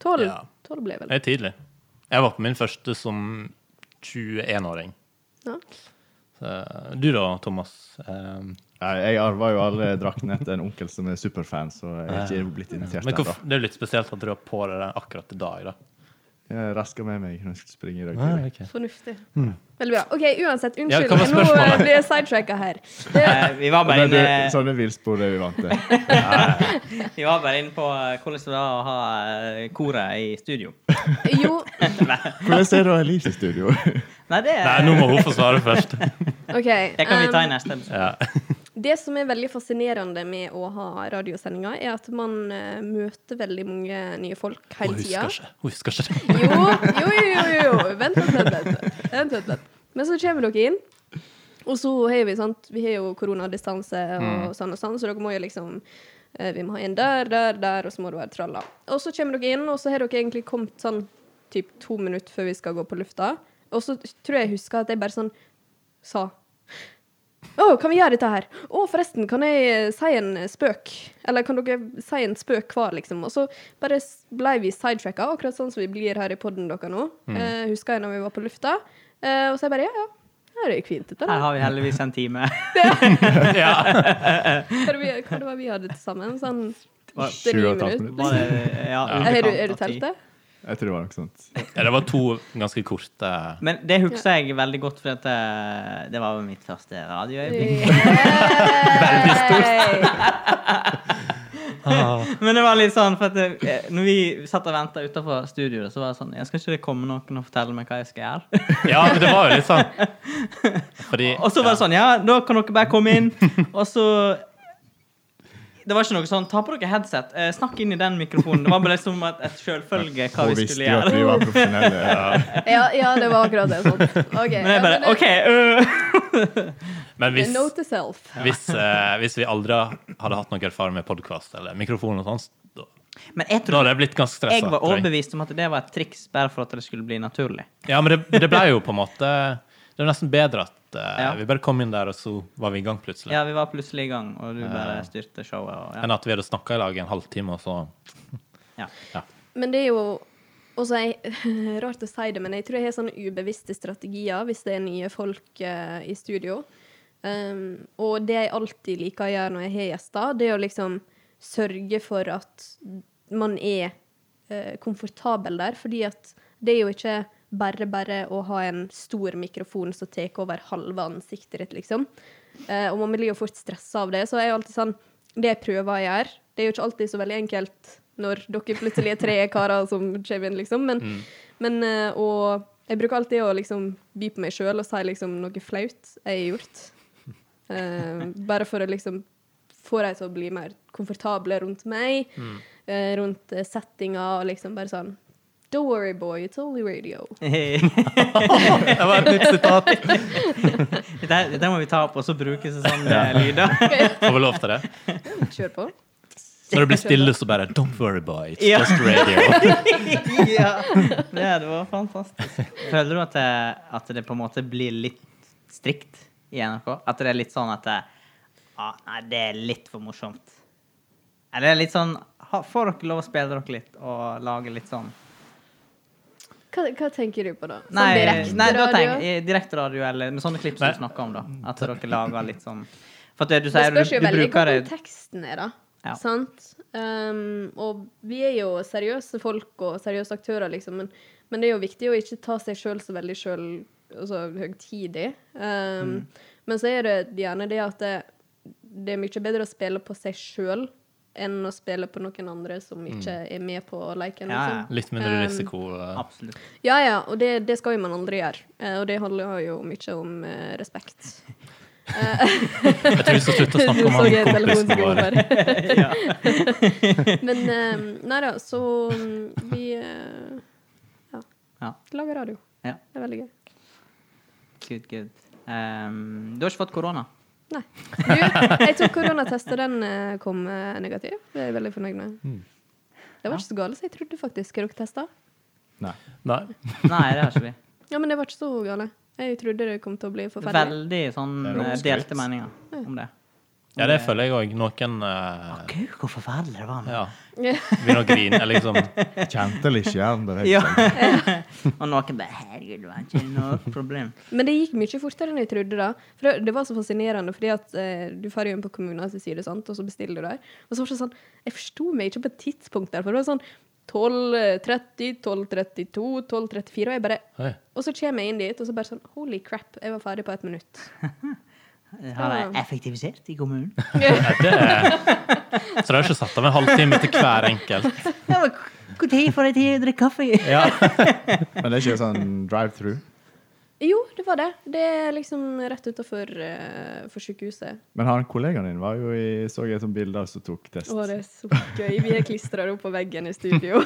S4: 12,
S3: Ja.
S4: 12 ble jeg vel.
S3: Det er tidlig. Jeg var på min første som 21-åring.
S4: Ja.
S3: Så, Du da, Thomas? Eh,
S1: Nei, Jeg arva jo alle draktene etter en onkel som er superfan, så jeg er ikke blitt invitert
S3: Men
S1: ennå.
S3: hvorf- det er jo litt spesielt at du har på deg den akkurat i dag, da.
S1: Jeg raska med meg når jeg skulle springe i dag.
S3: Ah,
S1: tidlig.
S3: ok.
S4: Fornuftig.
S2: Hmm.
S4: Veldig bra. OK, uansett.
S3: Ja, hva
S4: Unnskyld.
S3: var
S4: nå eh,
S3: spørsmålet?
S4: blir jeg sidetracka her. Det,
S2: Eh, vi var bare
S1: Men det er
S2: inne
S1: sånne villspor er vi vant til.
S2: Vi var bare inne på eh, hvordan det var å ha eh, koret i studio. Eh,
S4: jo,
S1: Hvordan ser du Elise i (laughs) studio?
S2: Nei, det,
S3: Nei, nå må hun få svare
S2: (laughs)
S3: først.
S4: OK.
S2: det kan vi ta i
S4: um,
S2: neste episode.
S3: Ja.
S4: det som er veldig fascinerende med å ha radiosendinger, er at man eh, møter veldig mange nye folk
S3: Hun
S4: hele tida.
S3: husker ikke. Hun husker ikke.
S2: (laughs)
S3: det.
S4: Jo, jo, jo, jo, jo. Vent, vent, vent, vent. vent, vent, vent. Men så kommer dere inn, og så har vi sant, vi har jo koronadistanse og sånn og sånn, så dere må jo liksom eh, Vi må ha en der, der, der, og så må det være tralla. Og så kommer dere inn, og så har dere egentlig kommet sånn typ to minutter før vi skal gå på lufta, og så tror jeg jeg husker at jeg bare sånn sa å, kan vi gjøre dette her? Å, forresten, kan jeg eh, si en eh, spøk? Eller kan dere si en spøk hver, liksom? Og så bare s- ble vi sidetracka, akkurat sånn som vi blir her i podden dere nå. Eh, husker jeg når vi var på lufta. Eh, og så jeg bare, ja, ja, ja, det gikk fint dette
S2: Her
S4: da.
S2: har vi heldigvis en
S4: (laughs)
S2: time.
S3: Ja.
S4: Hva det vi- hva det var vi hadde til sammen? Sånn
S1: Sju og
S4: åtte-ni
S1: et halvt
S4: minutter?
S1: minutt.
S2: Var det, eh, ja,
S4: Er du,
S2: underkant
S4: er
S2: av
S4: du
S2: ti.
S4: telt det?
S1: Jeg tror det var noe sånt.
S3: ja, det var to ganske korte
S2: Men det husker jeg veldig godt, for at eh, det var jo mitt første radioøyeblikk.
S4: Veldig
S2: (laughs)
S4: stort.
S2: Men det var litt sånn, for at eh, når vi satt og venta utafor studioet, så var det sånn Jeg skal ikke det komme noen og fortelle meg hva jeg skal gjøre?
S3: Ja, men det var jo litt sånn Fordi
S2: Og så var det sånn Ja, da kan dere bare komme inn. Og så Det var ikke noe sånn Ta på dere headset. eh, snakk inn i den mikrofonen. Det var bare som et, et selvfølge hva
S1: Hun
S2: vi
S1: visste
S2: skulle
S1: jo at
S2: gjøre.
S1: vi var profesjonelle.
S4: Ja, ja, det var akkurat det. Sånn. Ok,
S2: Men jeg
S4: ja,
S2: bare
S4: det-
S2: OK. øh.
S3: Men hvis,
S4: Note to self.
S3: hvis, eh, hvis vi aldri hadde hatt noe erfaring med podkast eller mikrofon og sånn, da,
S2: Men jeg
S3: da
S2: tror
S3: hadde jeg blitt ganske
S2: jeg
S3: stressa.
S2: var overbevist om at det var et triks bare for at det skulle bli naturlig.
S3: Ja, men det, det ble jo på en måte Det var nesten bedre at eh,
S2: Ja.
S3: vi bare kom inn der, og så var vi i gang plutselig,
S2: Ja, vi var plutselig i gang, og du bare styrte showet. Og, ja.
S3: enn at vi hadde snakka i lag i en halvtime, og så
S2: Ja.
S4: Men det er jo også jeg, (laughs) Rart å si det, men jeg tror jeg har sånne ubevisste strategier hvis det er nye folk eh, i studio. Um, og det jeg alltid liker å gjøre når jeg har gjester, det er å liksom sørge for at man er eh, komfortabel der, fordi at det er jo ikke bare bare å ha en stor mikrofon som tar over halve ansiktet ditt, liksom. Eh, og man blir jo fort stressa av det. Så jeg er alltid sånn Det jeg prøver å gjøre Det er jo ikke alltid så veldig enkelt når dere plutselig er tre karer som kommer inn, liksom. Men, men eh, og jeg bruker alltid å liksom by på meg sjøl og si liksom noe flaut jeg har gjort. Eh, bare for å liksom få dem til å bli mer komfortable rundt meg, eh, rundt eh, settinga og liksom bare sånn Don't worry, boy, it's only radio.
S3: Det var et
S2: (laughs)
S3: nytt sitat.
S2: Dette, dette må vi ta opp, og så brukes det sånn eh, lyder.
S3: Får vi lov til det?
S4: Kjør på.
S3: Når det blir stille, så bare Don't worry, boy. It's
S2: Ja.
S3: just radio.
S2: (laughs) ja. Det, det var fantastisk. Føler du at det, at det på en måte blir litt strikt i NRK? At det er litt sånn at det, ah, Nei, det er litt for morsomt. Eller det er litt sånn ha, Får dere lov å spille dere litt og lage litt sånn
S4: Hva, hva tenker du på da? Sånn
S2: Nei,
S4: direkte
S2: nei da
S4: radio?
S2: tenk, i direkteradio eller med sånne klipp som
S3: Nei.
S2: du snakker om, da. At dere lager litt sånn For at det du
S4: Det
S2: sier du,
S4: spørs jo
S2: du
S4: veldig hva
S2: bruker det
S4: konteksten er, da.
S2: Ja.
S4: Sant? Um, og vi er jo seriøse folk og seriøse aktører, liksom, men, men det er jo viktig å ikke ta seg sjøl så veldig sjøl altså, høgtidig. Um,
S2: Mm.
S4: Men så er det gjerne det at det, det er mye bedre å spille på seg sjøl enn å spille på noen andre som ikke er med på leken.
S2: Mm. Ja, ja.
S4: Liksom.
S3: Litt mindre risiko. eh.
S2: Absolutt.
S4: Ja, ja, og det, det skal jo man aldri gjøre. Eh, og det handler jo mye om eh, respekt.
S3: Jeg tror vi skal slutte å snakke om
S4: Du så
S3: han
S4: jeg
S3: kompisen
S4: telefonen
S3: vår.
S4: gå over. (laughs) Men eh, nei da, så mm, vi eh, ja,
S2: Ja.
S4: lager radio.
S2: ja.
S4: Det er veldig gøy.
S2: Good, good. Ehm, du har ikke fått korona?
S4: Nei. Du, jeg tok koronatest, og den eh, kom eh, negativ. Det er jeg veldig fornøyd med.
S3: Mm.
S4: Det var ikke så gale som jeg trodde, faktisk. Har dere testa?
S1: Nei.
S3: Nei.
S2: Nei, det har ikke vi.
S4: Ja, men det var ikke så gale. Jeg trodde det kom til å bli forferdelig.
S2: Veldig sånn
S1: Det er
S2: eh,
S1: omskrytt.
S2: delte meninger om det.
S3: Ja, det føler jeg òg. Noen eh,
S2: Gud, hvor forferdelig det var.
S3: ja,
S4: (laughs)
S3: begynner å grine. eller Liksom.
S1: Kjente litt skjerm der.
S2: Ja.
S1: Ja.
S2: (laughs) Og noen bare Herregud, det var ikke noe problem.
S4: Men det gikk mye fortere enn jeg trodde. da. For Det, det var så fascinerende, fordi at eh, du drar inn på kommunens side, sant? og så bestiller du der. Og så var det sånn, Jeg forsto meg ikke på et tidspunkt der, for det var sånn 12.30, 12.32, 12.34, og jeg bare
S3: Oi.
S4: Og så kommer jeg inn dit, og så bare sånn Holy crap, jeg var ferdig på ett minutt.
S2: Har de effektivisert i kommunen?
S3: Ja, det er. Så det har ikke satt av en halvtime til hver enkelt.
S2: Ja, men Når får jeg tid til å drikke kaffe?
S3: Ja.
S1: Men det er ikke sånn drive-through.
S4: Jo, det var det. Det er liksom rett utafor for sykehuset.
S1: Men han kollegaen din var jo i, så jeg som bilder som tok test.
S4: Å, det er så gøy. Vi er klistra opp på veggen i studio.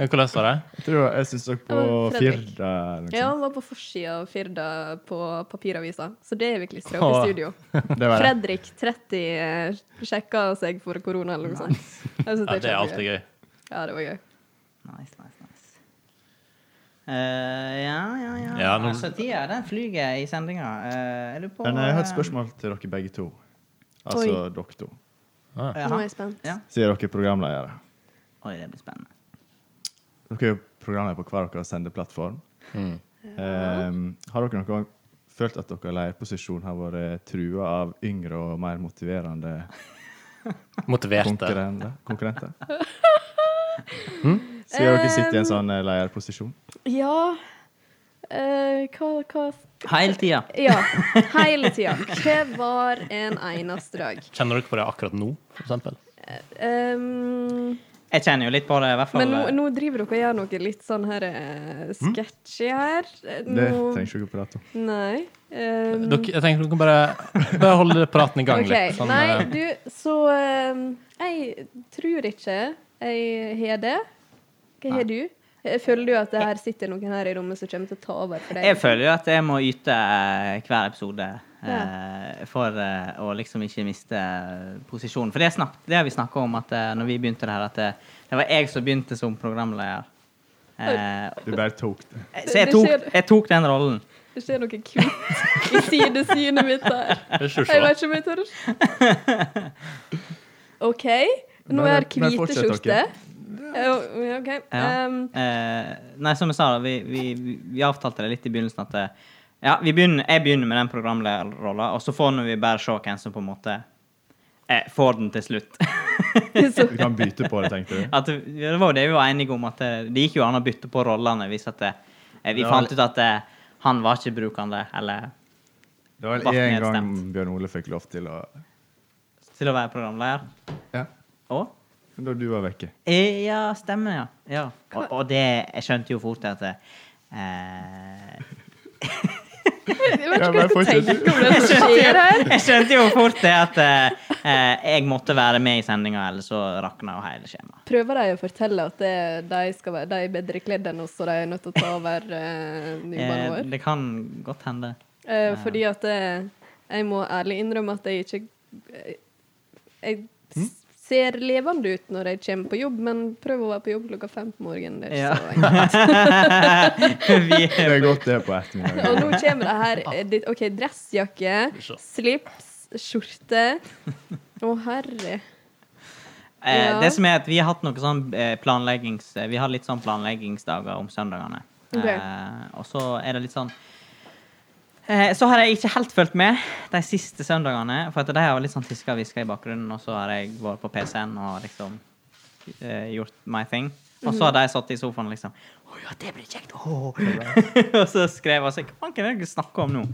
S3: Hvordan var det?
S1: Jeg tror jeg syns dere på
S4: Ja, Fredrik.
S1: Firda eller noe
S4: Ja,
S1: sånt.
S4: han var på forsida av Firda på papiravisa, så det er vi klistra
S3: Åh.
S4: opp i studio.
S1: Det var det.
S4: Fredrik, 30, sjekka seg for korona eller noe sånt. Jeg synes
S3: Ja, det er alltid
S4: kjempegøy.
S3: gøy.
S4: Ja, det var gøy.
S2: Nice, nice, nice. Eh, ja, ja, ja.
S3: Ja, nå-
S2: Altså, tida den flyger i sendinga. Eh, er du på
S1: Men jeg har et
S2: eh,
S1: spørsmål til dere begge to. Altså dere to.
S2: jaha.
S4: Nå er jeg spent.
S2: Ja.
S1: Sier dere programledere.
S2: Oi, det blir spennende.
S1: Dere er jo programledere på hver deres sendeplattform.
S3: Mm.
S1: Ehm, har dere noen gang følt at deres leierposisjon har vært trua av yngre og mer motiverende
S3: Motiverte.
S1: konkurrenter?
S3: (laughs)
S1: konkurrenter?
S3: Hm?
S1: Sier dere sitter i en sånn eh, leierposisjon?
S4: Ja eh, hva, hva
S2: Hele tida.
S4: Ja, hele tida. Hver en eneste dag.
S3: Kjenner dere på det akkurat nå, for eksempel?
S4: Um,
S2: Jeg kjenner jo litt på det, i hvert fall.
S4: Men nå, nå driver dere og gjør noe litt sånn her eh, sketchy her. Eh,
S1: Det
S4: nå-
S1: trenger ikke dere prate om.
S4: Nei. Um,
S3: Dere, jeg tenker dere kan bare, bare holde praten i gang
S4: ok.
S3: litt. Sånn,
S4: Nei,
S3: eh,
S4: du, så um, Jeg tror ikke jeg har det. Hva har du? Eh, Føler du at det her sitter noen her i rommet som kommer til å ta over for deg?
S2: Jeg føler jo at jeg må yte eh, hver episode eh, for eh, å liksom ikke miste eh, posisjonen. For det, snakk, det har vi snakka om at eh, når vi begynte det her, at eh, det var jeg som begynte som programleder. Eh,
S1: Du bare tok det.
S2: så jeg tok, jeg tok den rollen.
S4: Det skjer noe kvitt i sidesynet mitt der.
S3: det er
S4: Jeg
S3: ikke så.
S4: vet ikke om jeg tør. OK. Nå
S1: Men-
S4: er
S1: men
S4: hvite
S1: fortsett,
S4: skjorte.
S1: dere.
S4: Ja, OK.
S2: Ja.
S4: Um,
S2: Eh, nei, som jeg sa, da, vi, vi, vi- vi avtalte det litt i begynnelsen at eh, ja, vi begynner, jeg begynner med den programlederrollen, og så får nå vi bare se hvem som på en måte eh, får den til slutt.
S4: (laughs)
S2: (laughs)
S4: så
S1: Vi kan bytte på det, tenkte du.
S2: at, det var jo det vi var enige om, at eh, det gikk jo an å bytte på rollene hvis at eh, vi
S1: Ja,
S2: fant ut at eh, han var ikke brukende, eller
S1: Det var
S2: Ble
S1: vel én gang
S2: nedstemt.
S1: Bjørn Ole fikk lov til å
S2: til å være programleder.
S1: Ja,
S2: Og?
S1: da du var
S3: (laughs)
S1: vekke.
S2: Eh, ja, stemmer, ja. ja. Og, og det Jeg skjønte jo fort at eh, (laughs)
S4: Jeg vet
S1: Ja,
S4: ikke hva
S1: men
S4: du
S1: fortsett.
S4: tenker om det som skjer her.
S2: Jeg skjønte jo fort det at eh, eh, jeg måtte være med i sendinga, ellers så rakna jo hele skjemaet.
S4: Prøver de å fortelle at det, de, skal være, de er bedre kledd enn oss, og de er nødt til å ta over uh,
S2: Eh,
S4: nybanen vår?
S2: det kan godt hende. (laughs)
S4: Eh, fordi at eh, jeg må ærlig innrømme at jeg ikke eh, Jeg
S2: Hm?
S4: s- ser levende ut når jeg kommer på jobb, men prøv å være på jobb klokka fem på morgenen. Det er
S2: Ja.
S4: ikke så enkelt.
S2: (laughs) Vi,
S1: Det er godt det på ettermiddagen.
S4: Og nå kommer det her eh, det- OK, dressjakke, slips, skjorte. Å, herre.
S2: eh,
S4: Ja.
S2: Det som er at vi har hatt noe sånn eh, planleggings... eh, Vi har litt sånn planleggingsdager om søndagene.
S4: Ok.
S2: Eh, og så er det litt sånn eh, så har jeg ikke helt fulgt med de siste søndagene. For at de har litt sånn tiska og hviska i bakgrunnen, og så har jeg vært på PC-en og liksom eh, gjort my thing. Og så har de satt i sofaen liksom Å ja, det blir kjekt! åh!» (laughs) og så skrev jeg sånn Hva (laughs) kan dere snakke om nå?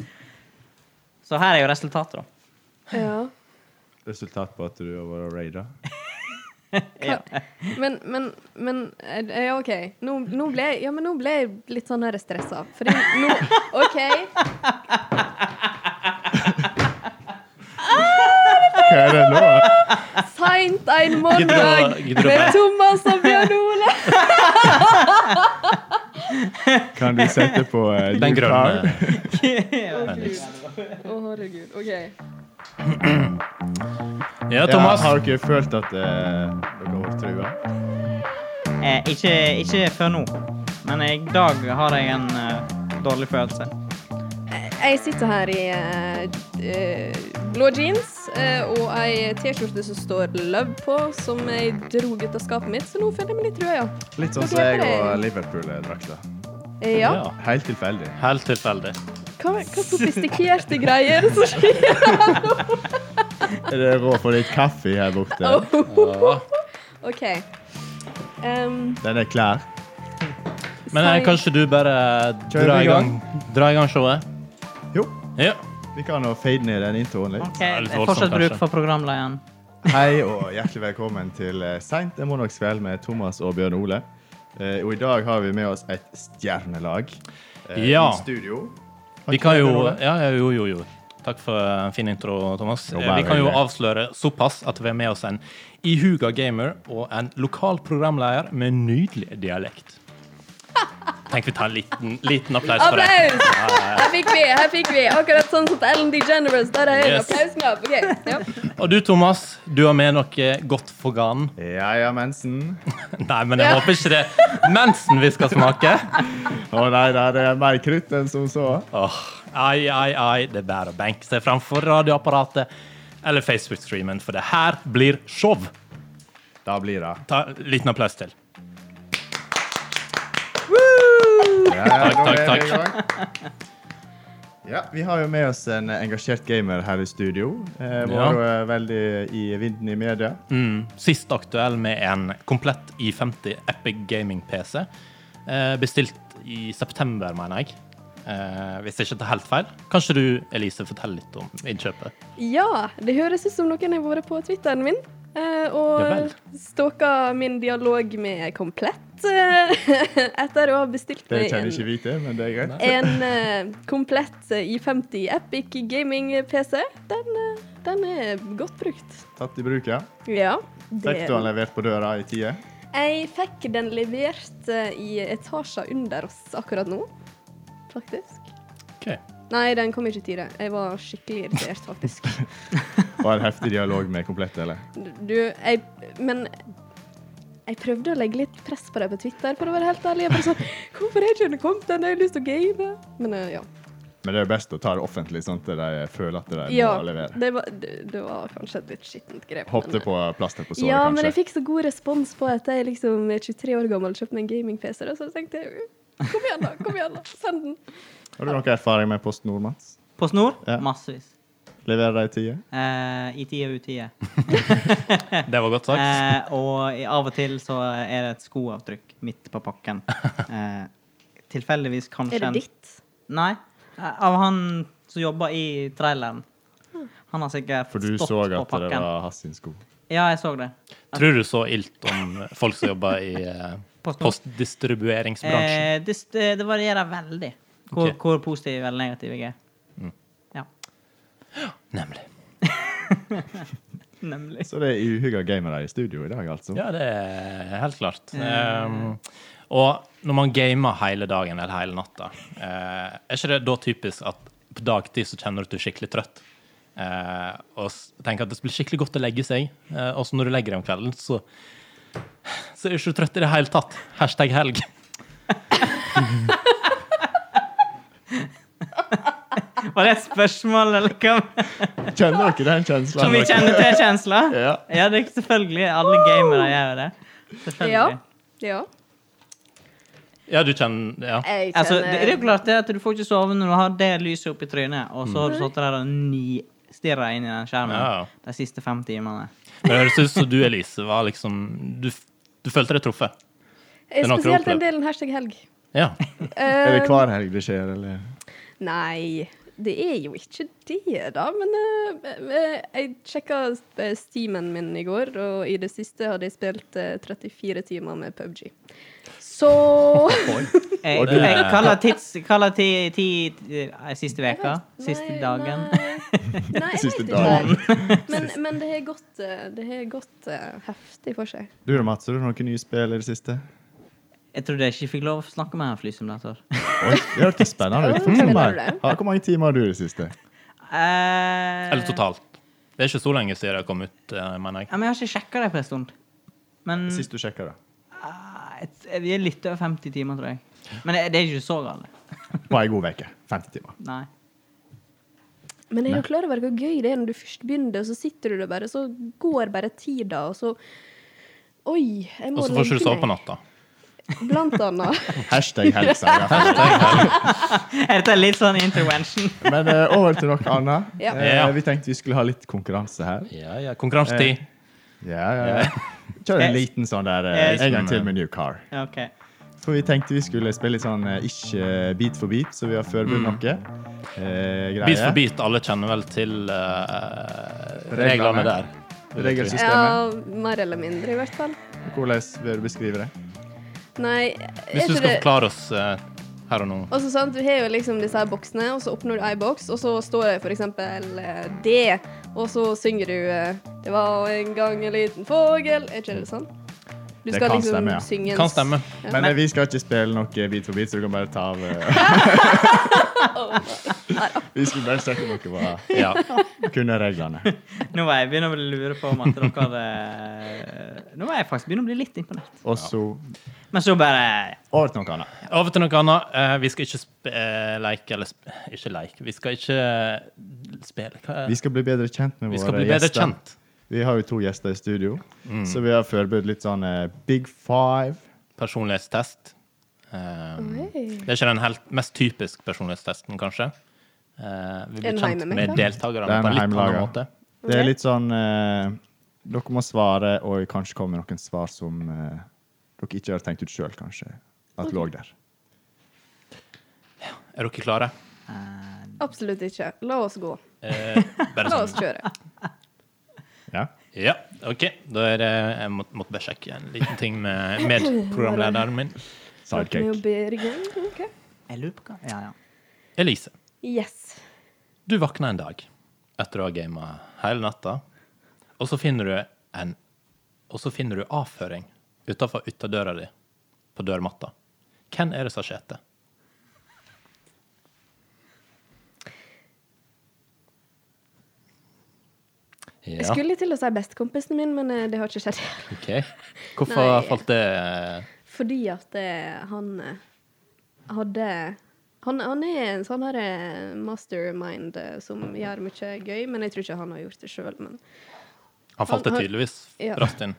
S2: Så her er jo resultatet, da.
S4: Ja.
S1: resultat på at du har vært raida?
S2: Ja.
S4: Men, men, men eh, ja, OK. Nå, nå, ble, jeg- ja, men nå ble jeg litt sånn her stressa. Fordi nå OK.
S1: Hva er det nå?
S4: Seint en
S3: Gidder
S4: morgen
S3: du å- gidder du å
S4: med
S3: be-
S4: Thomas og
S3: (laughs)
S4: Bjørn Ole.
S1: Kan du sette på eh,
S3: Den
S1: you
S3: grønne.
S1: car?
S4: Å, Gud. Å, herregud. OK.
S3: Ja,
S1: Ja,
S3: Thomas.
S1: har dere følt at eh, dere har vært trua?
S2: Eh, ikke, ikke før nå, men i dag har jeg en eh, dårlig følelse.
S4: Jeg sitter her i eh, eh, blå jeans eh, og ei T-skjorte som står 'Love' på, som jeg dro ut av skapet mitt, så nå føler jeg meg litt rød, ja.
S1: Litt sånn
S4: Dere
S1: som jeg
S4: er
S1: og
S4: på det.
S1: Liverpool-drakta.
S4: Eh, ja.
S3: Ja.
S1: Helt tilfeldig.
S3: Helt tilfeldig.
S4: Hva, hva sofistikerte greier er det som skjer?
S1: Er det råd for litt kaffe her borte?
S4: Oh. OK. Em,
S1: Den er klar.
S3: Men eh,
S4: Sorry.
S3: kanskje du bare
S1: Kjører vi
S3: drar
S1: i
S3: i gang, dra i gang showet?
S1: Jo,
S3: Ja.
S1: vi kan jo fade ned den introen litt.
S2: Ok,
S3: Ja, litt voldsomt,
S2: Fortsatt bruk
S3: kanskje.
S2: for programlederen.
S1: Hei og hjertelig velkommen til eh, Seint en måndagskveld med Thomas og Bjørn Ole. Eh, og i dag har vi med oss et stjernelag eh,
S3: Ja.
S1: i studio. Har
S3: Vi
S1: ikke
S3: kan
S1: det,
S3: jo
S1: Ole?
S3: Ja, ja, jo, jo, jo. Takk for en fin intro, Thomas.
S1: Jo,
S3: Eh,
S1: bare
S3: Vi kan jo
S1: hyggelig.
S3: avsløre såpass at vi har med oss en ihuga gamer og en lokal programleder med nydelig dialekt. Tenk vi tar en liten, liten applaus for det.
S4: applaus! Her fikk vi, her fikk vi. Akkurat sånn som til Ellen DeGeneres. Der er en
S3: Yes.
S4: applausknapp. OK. Ja.
S3: Og du, Thomas, du har med noe godt for ganen.
S1: Ja ja, mensen.
S3: Nei, men jeg håper ikke det er mensen vi skal smake.
S1: Å nei, nei, det er mer krutt enn som så.
S3: Åh, ai, ai, ai. Det er bare å benke seg framfor radioapparatet eller Facebook-streamen, for det her blir show.
S1: Da blir det.
S3: Ta en liten applaus til.
S1: Ja, ja, nå
S3: takk,
S1: er vi
S3: takk.
S1: i gang. Ja, vi har jo med oss en engasjert gamer her i studio. Eh,
S3: Ja.
S1: var jo eh, veldig i vinden i media.
S3: Sist aktuell med en komplett I50 Epic Gaming-PC. Eh, bestilt i september, mener jeg. Eh, hvis jeg ikke tar helt feil. Kanskje du, Elise, forteller litt om innkjøpet?
S4: Ja, det høres ut som noen har vært på Twitteren min eh,
S3: Ja vel.
S4: og stalka min dialog med Komplett eh, etter å ha bestilt
S1: Det
S4: meg
S1: kjenner
S4: en,
S1: ikke vi til, men det er greit.
S4: en eh, komplett eh, i50 Epic Gaming-PC. Den, eh, den er godt brukt.
S1: Tatt i bruk, ja.
S4: Ja.
S1: Fikk du den levert på døra i tide?
S4: Jeg fikk den levert eh, i etasjer under oss akkurat nå, faktisk.
S3: Ok.
S4: Nei, den kom ikke i tide. Jeg var skikkelig irritert, faktisk. (laughs)
S1: Var det heftig dialog med Komplett, eller?
S4: Du, jeg Men jeg prøvde å legge litt press på deg på Twitter, for å være helt ærlig. Jeg bare sånn (laughs) Hvorfor har ikke den kommet ennå? Jeg har lyst til å game. Men eh, ja.
S1: Men det er jo best å ta det offentlig, sånn at de føler at de
S4: ja
S1: må levere.
S4: det, var, det, det var kanskje et litt skittent grep.
S1: Hoppte
S4: men-
S1: på plaster på såret,
S4: Ja, men jeg
S1: kanskje.
S4: fikk så god respons på at jeg liksom er 23 år gammel og kjøpte meg en gaming-PC, da, så tenkte jeg Kom igjen, da. Kom igjen, da. Send den.
S1: Har du noe erfaring med Post Nord, Mats?
S2: På snor?
S1: Ja.
S2: Massevis.
S1: Leverer de i tide?
S2: Eh, I tide og utide.
S3: Det var godt sagt.
S2: Eh, og i- av og til så er det et skoavtrykk midt på
S1: (laughs)
S2: pakken. Eh, tilfeldigvis kanskje
S4: Er det
S2: en-
S4: ditt?
S2: Nei. Eh, Av han som jobber i traileren.
S4: Hm.
S2: Han har sikkert
S1: For du
S2: stått
S1: så
S2: på
S1: at
S2: pakken.
S1: det var hans sin sko.
S2: Ja, jeg så det.
S3: Tror du så ilt om folk som jobber i eh,
S2: Postnord.
S3: postdistribueringsbransjen?
S2: Eh, det, st- det varierer veldig hvor,
S3: Ok.
S2: hvor positiv eller negativ jeg er.
S1: Hm.
S2: Ja,
S3: Nemlig.
S2: nemlig.
S1: Så det er uhygga gamere i studio i dag, altså.
S3: Ja, det er helt klart. Ehm, og når man gamer hele dagen eller hele natta, eh, er ikke det da typisk at på dagtid så kjenner du at du er skikkelig trøtt? Eh, og s- tenker at det blir skikkelig godt å legge seg, eh, og så når du legger deg om kvelden, så, så er du ikke trøtt i det hele tatt. Hashtag helg. (laughs)
S2: Var det et spørsmål, eller hva?
S1: Kjenner dere den
S2: Som vi
S1: kjenslen?
S2: kjenner til kjensler?
S1: Ja.
S2: Ja, det er selvfølgelig. Alle gamere gjør jo det.
S4: Ja.
S2: Selvfølgelig.
S4: ja.
S3: Ja, du kjenner Ja.
S4: Jeg
S2: Altså, det, det er
S4: kjenner
S2: jo klart det at du får ikke sove når du har det lyset opp i trynet, og så har
S4: Mhm.
S2: du sittet der og nistirra inn i den skjermen
S3: Ja.
S2: de siste fem timene.
S3: Men det høres ut som du, Elise, var liksom Du, f- du følte deg truffet.
S4: Eh,
S3: Den har ikke
S4: Spesielt den
S3: opplevd.
S4: delen hashtag helg.
S3: Ja.
S1: Er det hver helg det skjer, eller?
S4: Eh, Nei. Det er jo ikke det, da, men eh, eh, jeg sjekka eh, steamen min i går, og i det siste hadde jeg spilt eh, 34 timer med PubG. Så
S2: Jeg,
S1: Og du-
S2: jeg kaller tids... Kaller ti, ti, eh, siste veka? Siste
S4: Nei,
S2: dagen?
S4: Nei, nei jeg
S1: Siste
S4: vet
S1: dagen.
S4: ikke. Men, men det har gått, eh, det har gått eh, heftig for seg.
S1: Du da, Mats, har du noen nye spill i det siste?
S2: Jeg trodde jeg ikke fikk lov å snakke med en flysimulator.
S1: Oi, det hørtes spennende ut. Fortell meg. Ja, Hvor mange timer har du i det siste?
S2: Eh,
S3: Eller totalt. Det er ikke så lenge siden det kom ut, eh, mener jeg.
S2: Ja, men jeg har ikke sjekka det på en stund. Men
S1: Sist du sjekka, da.
S2: eh, et- vi er litt over 50 timer, tror jeg. Men det, det er ikke så galt.
S1: På ei god uke. 50 timer.
S2: Nei.
S4: Men jeg er jo klar over hvor gøy det er når du først begynner, og så sitter du der bare, så går bare tida, og så Oi, jeg
S3: Og
S4: må
S3: så får ikke du sove på
S4: meg.
S3: natta.
S4: Blant
S3: (laughs)
S4: annet.
S1: Hashtag helg,
S2: Er dette litt sånn intervention? (laughs)
S1: Men eh, over til noe annet.
S4: Ja.
S1: Eh, vi tenkte vi skulle ha litt konkurranse her.
S3: Ja, ja. Konkurransetid.
S1: Ja, ja, ja. Kjør en liten sånn der eh, en gang til med New Car.
S2: Ja, OK.
S1: For vi tenkte vi skulle spille litt sånn eh, ikke eh, bit for bit, så vi har forberedt noe. Eh, greier.
S3: Bit for bit. Alle kjenner vel til eh,
S1: Reglene.
S3: reglene der.
S1: Regelsystemet.
S4: Ja, mer eller mindre, i hvert fall.
S1: Hvordan vil du beskrive det?
S4: Nei,
S3: Hvis
S4: er ikke
S3: du skal
S4: det
S3: forklare oss eh, her og nå
S4: Og så sant, Du har jo liksom disse her boksene, og så åpner du ei boks, og så står det f.eks. det, og så synger du eh, 'Det var en gang en liten fågel'. Er ikke det sånn? Du
S1: Det
S4: skal
S1: kan
S4: liksom
S1: stemme, ja.
S4: synge en
S3: Kan stemme.
S1: Men eh, vi skal ikke spille noe bit for bit, så du kan bare ta av eh, (laughs) Vi skulle bare sjekke noe hva
S3: Ja.
S1: kunne reglene.
S2: Nå var jeg begynner å lure på om at dere hadde Nå var jeg faktisk begynner å bli litt imponert.
S1: Og så
S2: Men så bare
S1: over til noe annet.
S3: (laughs) Over til noe annet. Eh, vi skal ikke sp eh, leke eller sp Ikke leke. Vi skal ikke eh, spille Hva er
S1: Vi skal bli bedre kjent med
S3: Vi
S1: våre
S3: skal bli bedre
S1: gjester.
S3: kjent. Mm.
S1: Vi har jo to gjester i studio, så vi har forberedt litt sånn eh, Big Five.
S3: Personlighetstest. Um,
S4: Oi.
S3: Det er ikke den helt mest typisk personlighetstesten, kanskje. Eh, vi blir
S4: En
S3: kjent med
S4: heimemekka?
S1: Det
S3: deltakerne
S1: er
S3: på en litt
S1: en
S3: annen
S1: heimelaga.
S3: måte.
S1: Det er litt sånn eh, Dere må svare, og kanskje komme med noen svar som eh, dere ikke har tenkt ut sjøl, kanskje. At lå der.
S3: Er dere klare?
S4: (laughs)
S2: eh,
S4: Absolutt ikke. La oss gå.
S3: Eh, bare
S4: (laughs) La oss
S3: sånn.
S4: kjøre.
S1: Ja.
S3: Ja, OK. Da er det Jeg må, måtte bare sjekke en liten ting med
S4: (laughs)
S3: medprogramlederen min.
S4: Starter med å
S1: Sidekick.
S4: Bergen. ok.
S2: Jeg lurer på hva Ja, ja.
S3: Elise,
S4: Yes.
S3: du våkner en dag etter å ha gama hele natta, og så finner du en Og så finner du avføring utafor ytterdøra di, på dørmatta. Hvem er det som har skjedd det?
S4: Jeg skulle til å si bestekompisen min, men eh, det har ikke skjedd. (laughs)
S3: Ok. Hvorfor
S4: Nei.
S3: falt det
S4: Fordi at eh, han eh, hadde han, han er en sånn her eh, mastermind eh, som gjør mye gøy, men jeg tror ikke han har gjort det sjøl. Men
S3: Han falt det
S4: Han- han-
S3: tydeligvis
S4: Ja.
S3: raskt inn.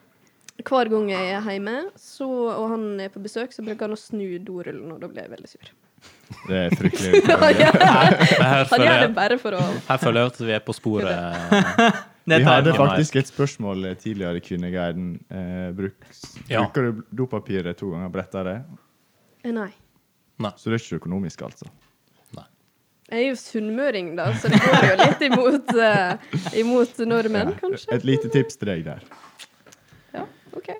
S4: hver gang jeg er hjemme så, og han er på besøk, så bruker han å snu dorullen, og da blir jeg veldig sur.
S1: Det er (laughs) fryktelig.
S4: Han gjør det-
S3: Men her
S4: han
S3: føler,
S4: gjør det
S3: jeg,
S4: bare for å
S3: her føler jeg at vi er på sporet.
S1: Vi
S2: tar
S1: hadde
S2: jeg.
S1: faktisk et spørsmål tidligere i Kvinneguiden. Eh, bruk,
S3: Ja.
S1: Bruker du dopapiret to ganger, bretter det?
S4: Eh, Nei.
S3: Nei.
S1: Så det er ikke økonomisk, altså.
S3: Nei.
S4: Jeg er jo sunnmøring, da, så det går jo litt imot, eh, imot nordmenn, kanskje.
S1: Et lite tips til deg der.
S4: Ja, OK.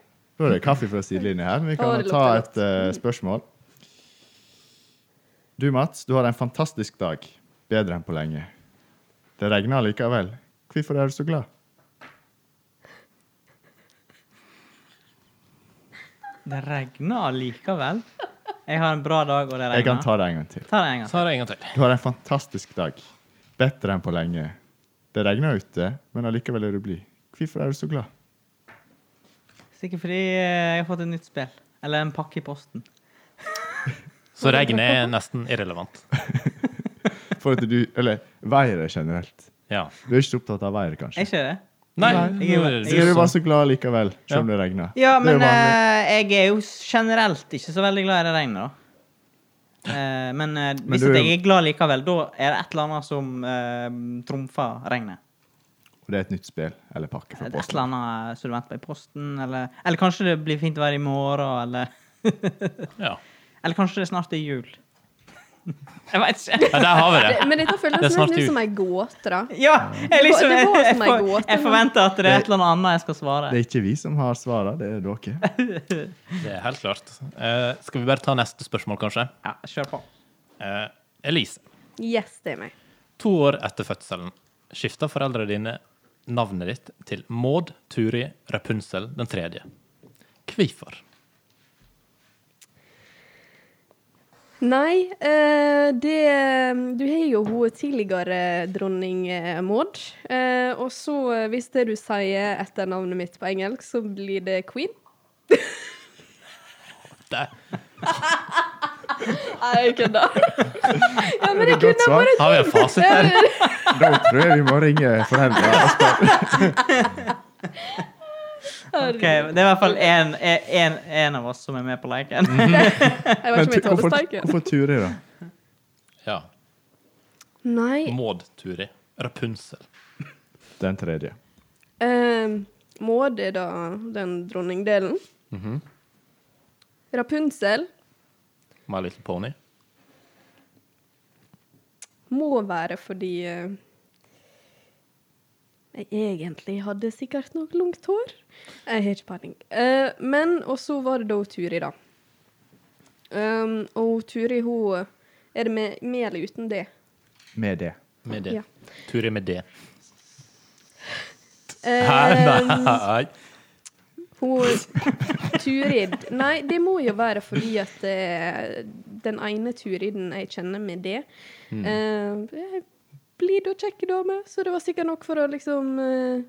S1: Nå er det kaffe fra sidelinja her, men vi
S4: Å,
S1: kan
S4: det
S1: ta
S4: lukter
S1: et eh, spørsmål. Du, Mats, du har en fantastisk dag. Bedre enn på lenge. Det regner likevel. Hvorfor er du så glad?
S2: Det regner allikevel. Jeg har en bra dag, og det regner.
S1: Jeg kan ta det en gang til.
S2: Ta det en gang.
S3: Så har jeg en gang til.
S1: Du har en fantastisk dag. Bedre enn på lenge. Det regner ute, men allikevel er du blid. Hvorfor er du så glad?
S2: Sikkert fordi eh, jeg har fått et nytt spill. Eller en pakke i posten.
S3: Så regnet er nesten irrelevant.
S1: For at du Eller været generelt.
S3: Ja.
S1: Du er ikke så opptatt av været, kanskje.
S2: Er ikke det?
S3: Nei,
S1: Nei.
S3: nå er
S1: Så er du
S3: det du
S1: bare
S3: som
S1: så glad likevel, selv om det regner.
S2: Ja,
S1: det er
S2: men
S1: jo vanlig.
S2: eh, jeg er jo generelt ikke så veldig glad i det regnet, da. Eh, men eh, hvis
S1: du
S2: at
S1: er-
S2: jeg er glad likevel, da er det et eller annet som eh, trumfer regnet.
S1: Og det er et nytt spill eller pakke
S2: Et
S1: fra
S2: et
S1: posten.
S2: eller annet som du venter på i posten, eller, eller kanskje det blir fint vær i morgen, eller (laughs)
S3: ja.
S2: Eller kanskje det snart er jul. Jeg vet ikke.
S3: Ja, der har vi
S4: Det,
S3: det.
S4: men dette føles
S3: Det er snart
S4: nesten ut
S3: jul.
S4: som ei gåte, da.
S2: (laughs) Ja, jeg liksom
S4: Det
S2: Jeg,
S4: var- det var
S2: jeg,
S4: som en
S2: for-
S4: gåte,
S2: jeg
S4: men-
S2: forventer at det er et eller annet annet jeg skal svare.
S1: Det er ikke vi som har svarene, det er dere.
S3: Det er helt klart. Eh, skal vi bare ta neste spørsmål, kanskje?
S2: Ja, kjør på.
S3: Eh, Elise,
S4: Yes, det er meg.
S3: to år etter fødselen skifta foreldrene dine navnet ditt til Maud Turi Rapunsel den tredje. Hvorfor?
S4: Nei, eh, det Du har jo hun tidligere dronning eh, Maud. Eh, og så, eh, hvis det du sier etter navnet mitt på engelsk, så blir det queen.
S3: Det.
S4: Nei, jeg kødder. (laughs) ja, men jeg
S1: Det er godt
S4: kunne
S1: svar.
S4: vært
S3: Har vi en fasit
S4: (laughs)
S3: der?
S1: Da tror jeg vi må ringe Altså, foreldra og spørre.
S2: Ok, Det er i hvert fall en- en en av oss som er med på leken.
S1: Mhm.
S4: Jeg vet
S1: Men
S4: ikke om jeg tåler
S1: hvorfor,
S4: sparken.
S1: hvorfor Turi, da?
S3: Ja.
S4: Nei.
S3: Maud Turi Rapunsel.
S1: Den tredje.
S4: eh, Maud er da den dronningdelen.
S1: Mhm.
S4: Rapunsel
S3: My Little Pony.
S4: må være fordi eh, jeg egentlig hadde sikkert nok langt hår. Jeg har ikke peiling. Eh, men Og så var det da Turi, da. Um, og Turi, hun Er det med, med eller uten det?
S1: Med det.
S3: Med det.
S4: Ja.
S3: Turi med det.
S4: Eh,
S3: Nei.
S4: hun Turid Nei, det må jo være fordi at eh, den ene Turiden jeg kjenner med det eh, Blid og kjekk dame, så det var sikkert nok for å liksom eh,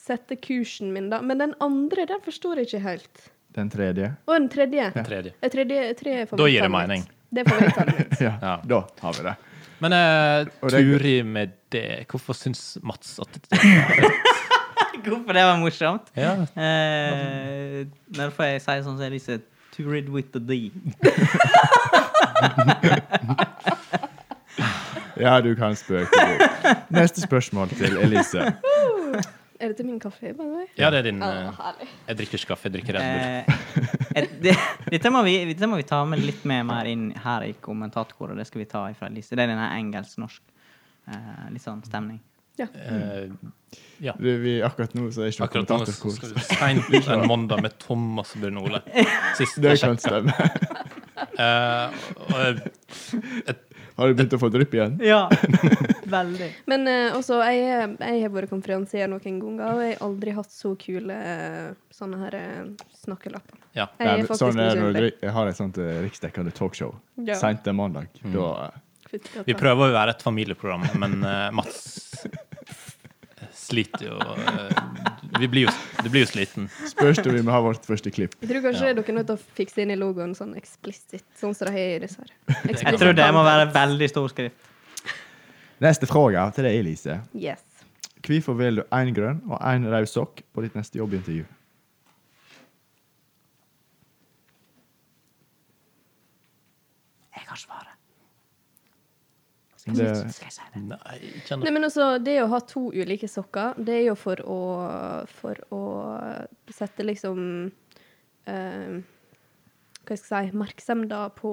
S4: sette kursen min, da. Men den andre, den forstår jeg ikke helt.
S1: Den tredje. (laughs)
S4: Og den tredje.
S3: Den tredje.
S4: Eh, tredje, tre er
S3: Da gir
S4: favorittallet
S3: det mening.
S4: mitt. Det er favorittallet mitt.
S1: Ja,
S3: Ja.
S1: da har vi det.
S3: Men eh,
S1: Og det-
S3: Turi med det Hvorfor syns Mats at
S2: (laughs) Hvorfor det var morsomt?
S3: (laughs) Ja.
S2: Eh, Når får jeg si sånn som Elise To read with the D.
S1: Ja, du kan spøke. du. Neste spørsmål til Elise.
S4: (laughs) Er dette min kaffe? by the way?
S3: Ja, det er din
S4: Ja,
S3: eh,
S4: herlig.
S3: Jeg drikker ikke kaffe, jeg drikker Red Bull.
S2: Eh, et- det- Dette må, vi, dette må vi ta med litt mer, mer inn her i kommentatorkoret. Det skal vi ta ifra Elise. Det er denne engelsk-norsk. eh, litt sånn stemning.
S3: Eh, ja.
S1: Du, vi, akkurat nå så er ikke noe
S3: Akkurat nå så
S1: kommentatorkort.
S3: skal du seint en mandag med Thomas og Bjørn Ole. Sist
S1: Det
S3: jeg
S1: kan
S3: sjekket.
S1: stemme.
S3: Eh, og,
S1: Har du begynt å få drypp igjen?
S2: (laughs) Ja, veldig.
S4: Men eh, også, jeg, er- jeg har vært konferansier noen ganger, og jeg har aldri hatt så kule eh, sånne her eh, snakkelapper.
S3: ja.
S4: Jeg
S1: Nei,
S4: er
S1: men
S4: faktisk
S1: sånn er det når du
S4: misunnelig.
S1: drik- jeg har et sånt eh, riksdekkende talkshow.
S4: Ja.
S1: Seint en mandag. Da, eh,
S4: Fytti katta.
S3: Vi prøver å være et familieprogram, men eh, Mats sliter jo eh, Vi blir jo, du blir jo sliten.
S1: spørs det om vi må ha vårt første klipp.
S4: Jeg tror kanskje dere er nødt til å fikse inn i logoen sånn eksplisitt, sånn som det har i disse her.
S2: Jeg tror det må være veldig stor skrift.
S1: Neste spørsmål til deg, Elise.
S4: Yes.
S1: Hvorfor velger du én grønn og én rød sokk på ditt neste jobbintervju?
S2: Jeg har svaret.
S1: Det,
S2: Skal jeg si det?
S3: Nei, kjenner
S4: Nei, men også, det å ha to ulike sokker, det er jo for å, for å sette liksom eh, Hva skal jeg si Merksomheten på,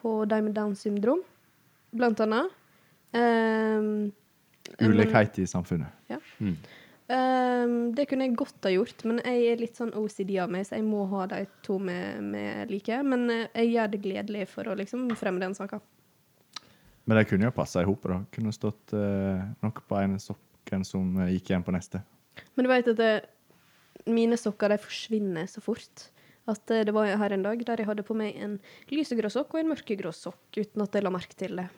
S4: på de med Downs syndrom, blant annet. Eh,
S1: ulikhet i samfunnet.
S4: ja. Eh, det kunne jeg godt ha gjort, men jeg er litt sånn OCD av meg, så jeg må ha de to med, med like. Men eh, jeg gjør det gledelig for å liksom fremme den saka.
S1: Men de kunne jo passa i hop. da. Kunne stått eh, noe på ene sokken som eh, gikk igjen på neste.
S4: Men du vet at det, mine sokker de forsvinner så fort. At eh, det var her en dag der jeg hadde på meg en lysegrå sokk og en mørkegrå sokk uten at jeg la merke til det.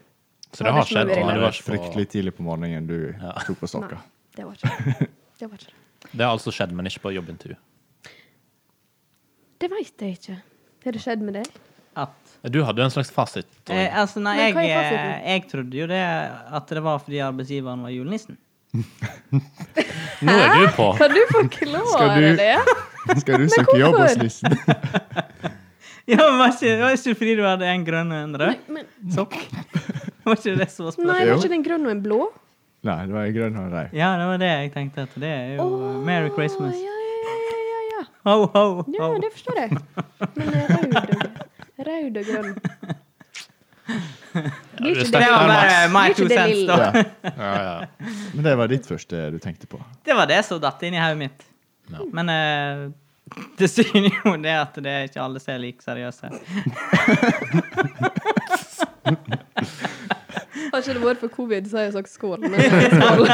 S3: Så det har
S4: Ja,
S3: skjedd.
S4: det er
S3: men
S1: Det var
S3: det var ikke
S1: fryktelig tidlig på morgenen du tok på sokka.
S4: Nei, det var ikke det. Det, var ikke det.
S3: på- Det har altså skjedd, men ikke på jobbintervju.
S4: det vet jeg ikke. Har det skjedd med deg?
S2: At
S3: Du hadde jo en slags fasit. og-
S2: Eh, altså, nei,
S4: Men
S2: jeg,
S4: hva er fasiten?
S2: jeg trodde jo det at det var fordi arbeidsgiveren var julenissen.
S3: Nå er du på!
S4: Kan du forklare
S1: Skal du- (laughs)
S4: det?
S1: Skal du
S4: Men
S1: søke jobb hos
S4: hvorfor?
S1: Lissen?
S2: Ja, men var ikke, var ikke fordi du hadde en grønn og en rød
S4: Men,
S2: (laughs) sokk? Var ikke det som var
S4: nei,
S2: spørsmålet?
S4: var ikke det en grønn og en blå?
S1: (laughs) Nei, det var en grønn og en rød.
S2: Ja, det var det jeg tenkte. at Det er jo eh,
S4: Åh,
S2: Merry Christmas.
S4: Ja, ja, ja, ja, ja, ja.
S2: Ho, ho, ho.
S4: ja, det forstår jeg. Men eh, rød og, rød og grønn Blir ikke
S3: det er
S2: Det
S3: sterkt
S2: var
S3: der,
S2: bare
S3: Mats.
S2: my
S4: Blir ikke
S2: two
S4: det
S2: cents,
S4: lille?
S2: da.
S1: Ja.
S3: Ja, ja.
S1: Men det var ditt første du tenkte på.
S2: (laughs) Det var det som datt inn i hodet mitt.
S3: Ja.
S2: Men eh, (laughs) det synes jo det at det er ikke alle som er like seriøse. (laughs)
S4: Har ikke det vært for covid, så har jeg sagt skål. Men eh,
S3: (laughs)
S4: skål.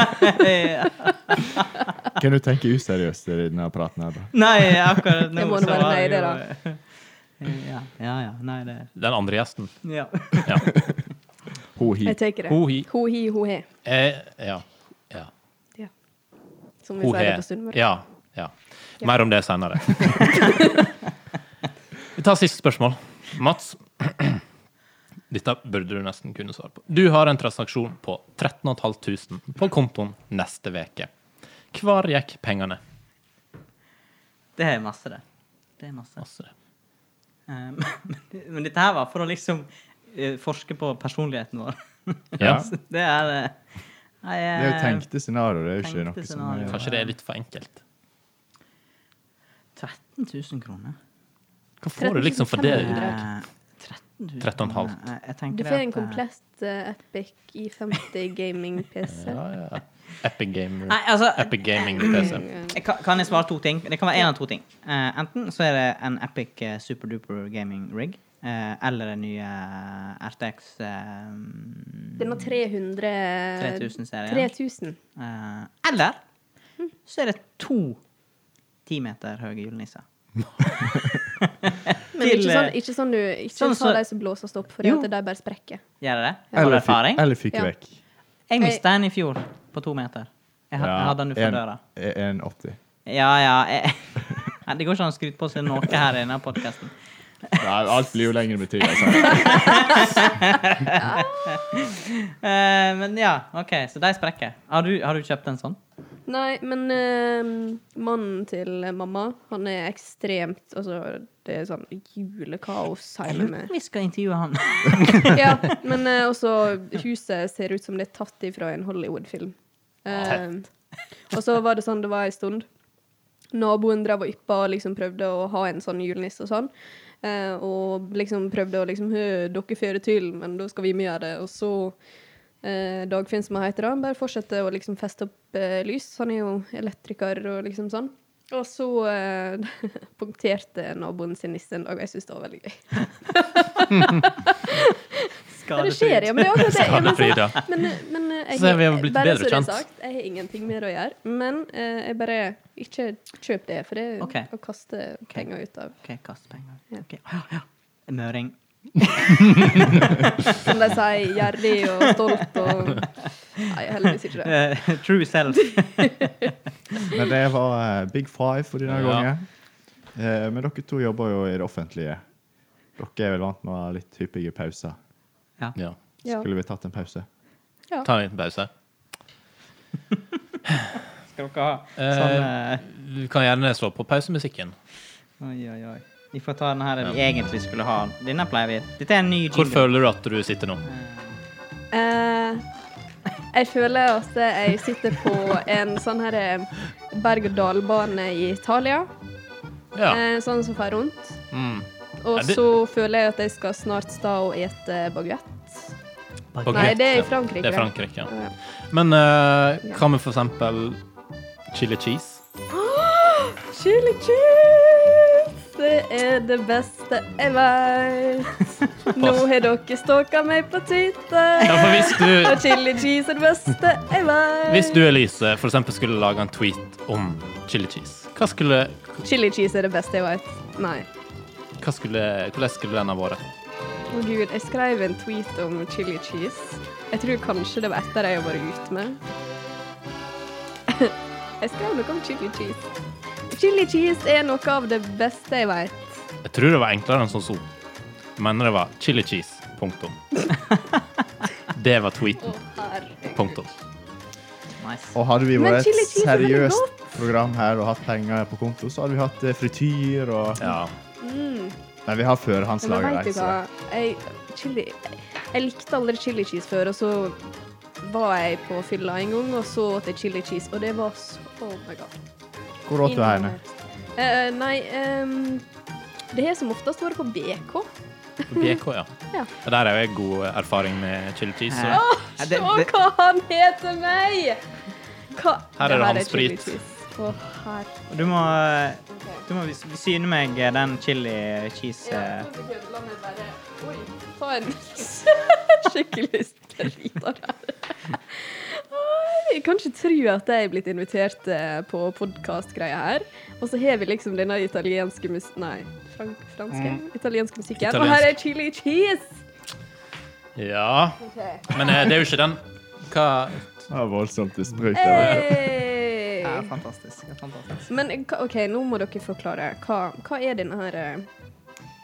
S2: Ja.
S1: Kan du tenke useriøst i denne praten her, da?
S2: Nei, akkurat nå
S4: Jeg må nå
S2: så
S4: være
S2: var
S4: med i
S2: det
S4: det,
S2: jo eh, (laughs) ja, ja, ja. Nei, det
S3: Den andre gjesten.
S2: Ja. (laughs)
S3: Ja.
S1: Ho hi.
S4: Jeg tar det.
S3: Ho hi.
S4: Ho hi, ho he.
S3: Eh, ja. ja.
S4: Ja. Som vi
S3: Ho
S4: sier
S3: he.
S4: det på Sunnmøre.
S3: Ja. ja. Mer om det senere. Vi tar siste spørsmål. Mats, dette burde du nesten kunne svare på. Du har en transaksjon på 13 500 på kontoen neste uke. Hvor gikk pengene?
S2: Det er masse, det. Det er masse.
S3: Masse det.
S2: Eh, (laughs) men, men dette her var for å liksom eh, forske på personligheten vår.
S3: Ja.
S2: Altså, (laughs) det er eh, nei,
S1: Det er jo
S2: eh,
S1: tenkte scenario, det er jo
S2: Tenkte
S1: ikke noe som
S2: scenario.
S1: er
S3: Kanskje det er litt for enkelt.
S2: 13 000 kroner.
S3: Hva får du liksom for det?
S4: 13 500.
S2: Eh, 13 000
S3: 13 1/2.
S2: kroner. Eh, jeg tenker
S4: Du
S2: det
S4: får en
S2: at, eh,
S4: komplett eh, Epic i50 gaming-PC.
S3: Ja, ja. Epic, game,
S2: Nei, altså,
S3: Epic Gaming
S4: Eh,
S3: PC.
S2: Jeg kan, kan jeg svare to ting? Det kan være én av to ting. Eh, enten så er det en Epic eh, superduper gaming rig, eh, eller den nye eh, RTX eh,
S4: Den har 300
S2: 3000-serien.
S4: 3000.
S2: eh, Eller så er det to ti meter høye julenisser.
S4: Men ikke
S2: Til,
S4: sånn,
S2: eh,
S4: ikke sånn du Ikke
S2: sånn
S4: ta
S2: så-
S4: de som blåses opp, fordi
S2: Jo.
S4: at de bare sprekker.
S2: Gjør det det? Har du
S1: Eller, fi-
S2: erfaring?
S1: eller fikk
S4: Ja.
S1: vekk.
S2: Jeg mista en i fjor på to meter. Jeg ha- jeg hadde den utenfor døra.
S1: 1,80.
S2: Ja, ja. (laughs) Jeg, Nei, det går ikke an å skryte på seg noe her i denne podkasten.
S1: Nei, alt blir jo lenger med altså. tida. sant?
S2: Eh, men ja, OK, så de sprekker. Har du, har du kjøpt en sånn?
S4: Nei, men eh, mannen til mamma, han er ekstremt Altså, det er sånn julekaos
S2: Jeg
S4: hjemme
S2: lurer på
S4: med
S2: om vi skal intervjue
S4: (laughs)
S2: han.
S4: Ja, men eh, også huset ser ut som det er tatt ifra en Hollywood-film. Eh, og så var det sånn det var en stund. Naboen drev og yppa og liksom prøvde å ha en sånn julenisse og sånn. Eh, og liksom prøvde å liksom «Hø, Dere fører til, men da skal vi med gjøre det. Og så eh, Dagfinn, som han heter, da, bare fortsetter å liksom feste opp eh, lys. Han er jo elektriker og liksom sånn. Og så eh, (laughs) punkterte naboen sin nisse en dag, og jeg syns det var veldig gøy. Ja, det skjer, ja. Men det er akkurat det. Ja, men
S3: Skadefri,
S4: sånn-
S3: da.
S4: Men, men eh, jeg,
S3: Så vi har blitt
S4: bare
S3: bedre
S4: så det er
S3: kjent.
S4: Sagt, jeg har ingenting med det å gjøre. Men eh, jeg bare Ikke kjøp det, for det er
S2: Ok.
S4: å kaste penger ut av.
S2: OK, kast penger. Ok, Ja, ja. Møring.
S4: Som de sier, gjerrig og stolt og Nei, heldigvis ikke det.
S2: Eh, (laughs) true self.
S1: Men det var eh, big five for denne
S3: Ja.
S1: gangen. Eh, Men dere to jobber jo i det offentlige. Dere er vel vant med å ha litt hyppige pauser.
S3: Ja.
S4: Ja.
S1: Skulle vi tatt en pause?
S4: Ja.
S3: Ta en liten pause.
S2: Skal dere ha sånn
S3: Eh, Vi kan gjerne slå på pausemusikken.
S2: eh, Oi, oi, oi. Vi får ta den her vi egentlig skulle ha. Denne pleier vi. Dette er en ny
S3: Hvor
S2: jingle.
S3: føler du at du sitter nå?
S4: Eh, jeg føler at jeg sitter på en sånn her berg-og-dal-bane i Italia.
S3: Ja.
S4: eh, sånn som fer rundt.
S3: Mm.
S4: Og
S3: Er det-
S4: så føler jeg at jeg skal snart stå og ete baguett.
S3: Baguette.
S4: Nei, det er i Frankrike.
S3: Det er Frankrike, ja.
S4: Ja.
S3: Men eh, hva med for eksempel
S4: (laughs)
S3: chili cheese?
S4: Chili cheese! Det er det beste jeg
S3: (laughs)
S4: vet. Nå har dere stalka meg på
S3: Ja,
S4: Twitter.
S3: for hvis
S4: Og
S3: du,
S4: chili cheese er det beste jeg vet.
S3: hvis du Elise, for eksempel skulle lage en tweet om chili cheese, hva skulle,
S4: Chili cheese er det beste jeg vet. Nei.
S3: hva skulle, hvordan skulle den ha vært?
S4: Å gud, jeg skrev en tweet om chili cheese. Jeg tror kanskje det var etter jeg har vært ute med. (laughs) Jeg skrev noe om chili cheese. Chili cheese er noe av det beste jeg vet.
S3: Jeg tror det var enklere enn som så. Jeg mener det var chili cheese,
S4: (laughs)
S3: punktum. Det var
S4: Å,
S3: tweeten,
S4: herregud.
S3: punktum.
S2: Nice.
S1: Og hadde vi
S4: Men
S1: vært
S4: chili
S1: et
S4: cheese er veldig
S1: seriøst program her og hatt penger på konto, så hadde vi hatt eh, frityr og
S3: Ja.
S4: Mm.
S1: Nei, vi har førhåndslaget
S4: Men vet du
S1: reise.
S4: hva? Jeg, chili, jeg likte aldri chili cheese før, og så var jeg på fylla en gang og så åt jeg chili cheese, og det var så Oh my god.
S1: Hvor åt du henne?
S4: Eh, nei, ehm, det har som oftest vært på BK.
S3: BK, ja.
S4: Ja.
S3: Og Der har jeg god erfaring med chili cheese.
S2: Ja.
S3: Så.
S2: Ja,
S4: Se
S2: det- det-
S4: hva han heter meg! Hva?
S3: Her er det
S4: chili
S3: hans sprit.
S4: cheese. Å, her.
S2: Du må, eh, du må vis- syne meg eh, den chili cheese eh.
S4: La meg bare Oi, ta en skikkelig (laughs) sterid av det her. Jeg kan ikke tro at jeg er blitt invitert eh, på podkastgreia her. Og så har vi liksom denne italienske mus... Nei, frank, franske? Italienske musikken. Og her er chili cheese!
S3: Ja. Men eh, det er jo ikke den Hva
S1: Det var voldsomt i sprøyt.
S4: Eh.
S1: det der.
S4: Hey!
S2: Ja, fantastisk. ja, fantastisk.
S4: Men eh, hva- OK, nå må dere forklare. Hva, hva er denne her eh,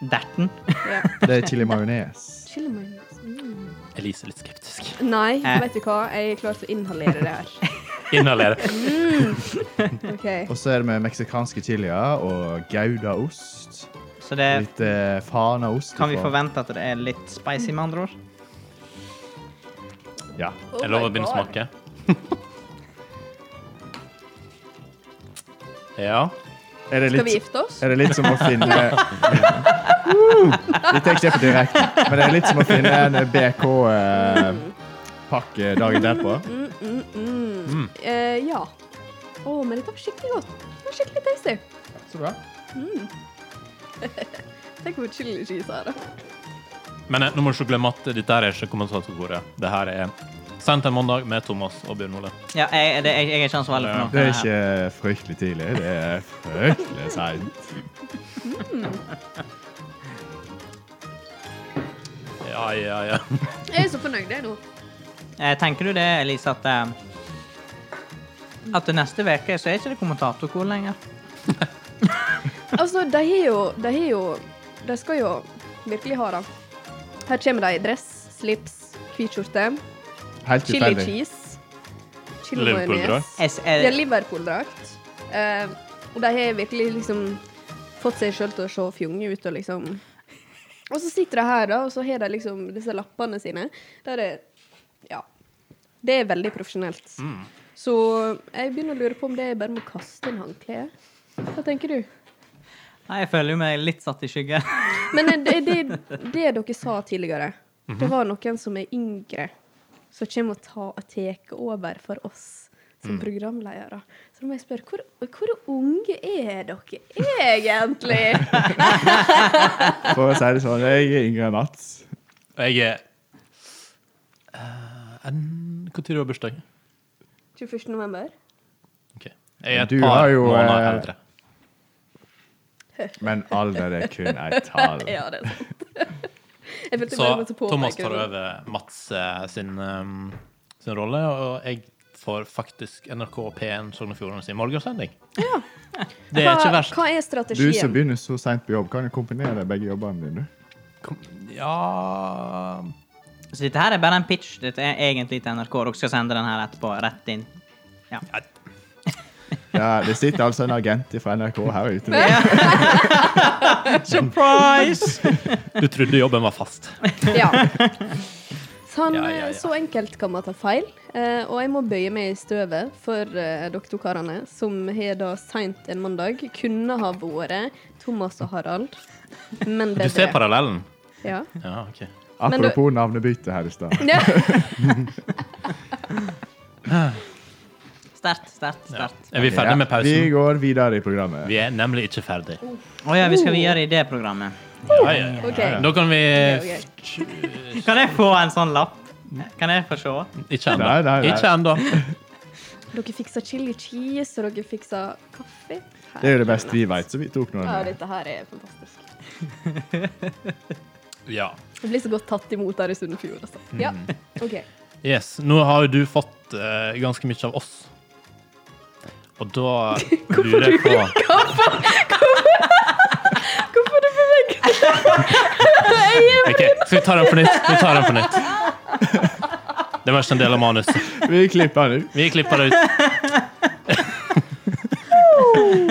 S2: Derten. (laughs)
S4: ja.
S1: Det er chili majones.
S4: Chili mayo- mm.
S3: Elise er litt skeptisk.
S4: Nei,
S2: Eh.
S4: vet du hva? Jeg er klar til å inhalere det her.
S3: Inhaler.
S4: OK.
S1: Og så er det med meksikanske chilier og goudaost.
S2: Så det
S1: Litt eh, fanaost.
S2: kan vi
S1: ifra-
S2: forvente at det er litt spicy, med andre ord.
S1: Ja.
S4: Oh
S3: Jeg lover å begynne å smake. (laughs) Ja.
S1: Er det
S4: Skal vi
S1: litt,
S4: gifte oss?
S1: er det litt som
S4: (laughs)
S1: å finne Woo! Dette er ikke kjøpt direkte, men det er litt som å finne en BK-pakke dagen derpå.
S4: Mm, mm, mm.
S3: Mm.
S4: Eh, ja. Å, men dette var skikkelig godt. Det var skikkelig tasty.
S1: Så bra.
S4: Tenk hvor chili cheese er, da.
S3: Men eh, nå må du ikke glemme at dette her er ikke kommentatorbordet. Det her er Sendt en mandag med Thomas og Bjørn Ole.
S2: Ja, jeg, det, jeg, jeg er ikke ansvarlig for noe.
S1: Det er ikke fryktelig tidlig. Det er fryktelig seint.
S3: Ja, ja, ja.
S4: Jeg er så fornøyd jeg nå.
S2: Eh, Tenker du det, Elise, at eh, at til neste uke så er ikke det kommentatorkor lenger?
S4: Altså, de har jo De har jo De skal jo virkelig ha det. Her kommer de i dress, slips, hvit skjorte,
S1: Helt
S4: chili
S1: tilfeldig.
S4: cheese, chili
S3: Liverpool-drakt.
S4: majones.
S2: Jeg, s-
S4: Det er
S2: jeg,
S4: Liverpool-drakt. Eh, og de har virkelig liksom fått seg sjøl til å se fjonge ut og liksom Og så sitter de her, da, og så har de liksom disse lappene sine. Der er Ja. Det er veldig profesjonelt. Så jeg begynner å lure på om det er bare må kaste inn håndkleet. Hva tenker du?
S2: nei, jeg føler jo meg litt satt i skyggen. (laughs)
S4: Men er det, det, det dere sa tidligere,
S3: Mhm.
S4: det var noen som er yngre, som kommer og ta- og tar over for oss
S3: Mm.
S4: som programledere. Så da må jeg spørre, hvor, hvor unge er dere egentlig?
S3: (laughs)
S1: For å si det sånn, jeg er yngre enn Mats.
S3: Og jeg er uh, Når har du bursdag?
S4: 21. november?
S3: Ok. Jeg er et
S1: Du har
S3: par
S1: jo,
S3: måneder
S1: eh,
S3: eldre.
S1: Men alder er kun
S4: (laughs)
S1: et tall.
S4: Ja, det er sant. (laughs) Jeg følte
S3: Så
S4: bare jeg måtte påpeke
S3: Thomas
S4: det
S3: tar
S4: nå.
S3: over Mats eh, sin, um, sin rolle, og jeg får faktisk NRK og P1 Sogn og Fjordane sin morgensending. Det er ikke
S4: Hva,
S3: verst.
S4: hva
S1: Du
S4: er
S1: som
S4: strategien?
S1: begynner så seint på jobb, kan jo kombinere begge jobbene dine.
S3: Kom- Ja
S2: Så dette her er bare en pitch. Dette er egentlig til NRK. Dere skal sende den her etterpå. Rett inn.
S1: Ja, det sitter altså en agent fra NRK her ute.
S2: (laughs) Surprise!
S3: Du trodde jobben var
S4: (laughs)
S3: fast. (laughs)
S4: Ja. Sånn,
S3: Ja, ja, ja.
S4: Så enkelt kan man ta feil, eh, og jeg må bøye meg i støvet for eh, dere to karene, som har da seint en mandag kunne ha vært Thomas og Harald, men bedre.
S3: Du ser parallellen?
S4: Ja.
S3: Ja, OK.
S4: Men du-
S1: Apropos navnebytte her i stad.
S4: Ja.
S2: Sterkt, sterkt,
S3: Ja.
S2: sterkt.
S3: Er vi ferdig med
S1: Vi
S3: pausen?
S1: går videre i programmet.
S3: Vi er nemlig ikke ferdig.
S2: Å ja, vi skal videre i det programmet.
S3: Ja, ja, ja.
S4: Oh. OK.
S3: Da kan vi
S4: ok.
S2: Kan jeg få en sånn lapp? Kan jeg få se?
S3: Ikke ennå.
S1: Nei, nei, nei.
S3: Ikke ennå.
S4: Dere fiksa chili cheese, og dere fiksa kaffe.
S1: Det er jo det beste vi vet, så vi tok noe
S4: Ja,
S1: med.
S4: dette her er fantastisk.
S3: Ja.
S4: Jeg blir så godt tatt imot her i Sunnfjord, altså.
S3: Mm.
S4: Ja, OK.
S3: Yes. Nå har jo du fått eh, ganske mye av oss. Og
S4: (laughs)
S3: da lurer jeg på
S4: Hvorfor du (laughs) beveger deg?
S3: Ok, Skal vi ta den på nytt? Vi tar den på nytt. Det var ikke en del av manuset.
S1: Vi klipper den ut.
S3: Vi klipper det ut.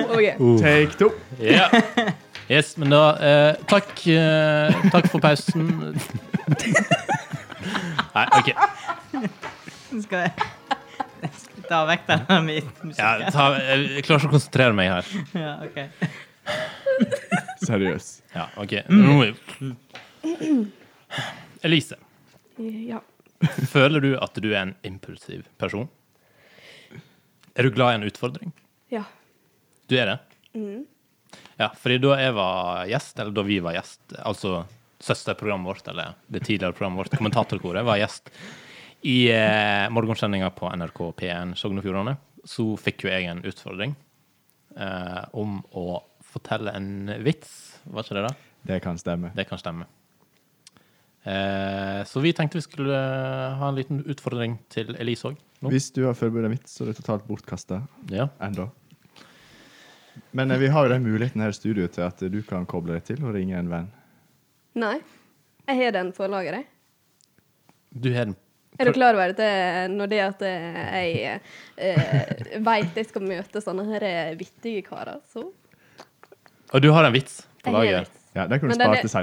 S4: OK.
S1: Take two.
S3: Ja. Yes, men da eh, Takk eh, Takk for pausen. Nei, OK.
S2: Skal jeg, (laughs) jeg skal ta vekk denne musikken?
S3: Ja, ta, jeg klarer ikke å konsentrere meg
S2: (laughs)
S3: her.
S2: Ja, ok.
S1: Seriøst.
S3: Ja, ok. Nå må vi- Elise,
S4: Ja.
S3: føler du at du er en impulsiv person? Er du glad i en utfordring?
S4: ja.
S3: Du er det?
S4: Mm.
S3: Ja, fordi da jeg var gjest, eller da vi var gjest, altså søsterprogrammet vårt, eller det tidligere programmet vårt, kommentatorkoret, var gjest i eh, morgensendinga på NRK P1 Sogn og Fjordane, så fikk jo jeg en utfordring eh, om å fortelle en vits, var ikke det da?
S1: Det kan stemme.
S3: Det kan stemme. Eh, så vi tenkte vi skulle eh, ha en liten utfordring til Elise òg.
S1: Hvis du har forberedt en vits, så er det totalt bortkasta
S3: Ja.
S1: ennå. Men eh, vi har jo den muligheten her i studio til at eh, du kan koble deg til og ringe en venn.
S4: Nei. Jeg har den på lageret.
S3: Du har den.
S4: Er du klar over at det, når det at jeg eh, veit jeg skal møte sånne her eh, vittige karer, så
S3: Og du har en vits på
S4: Jeg har en
S3: laget.
S4: vits.
S1: Ja, Den kan du
S4: Men den
S1: spare
S4: er-
S1: til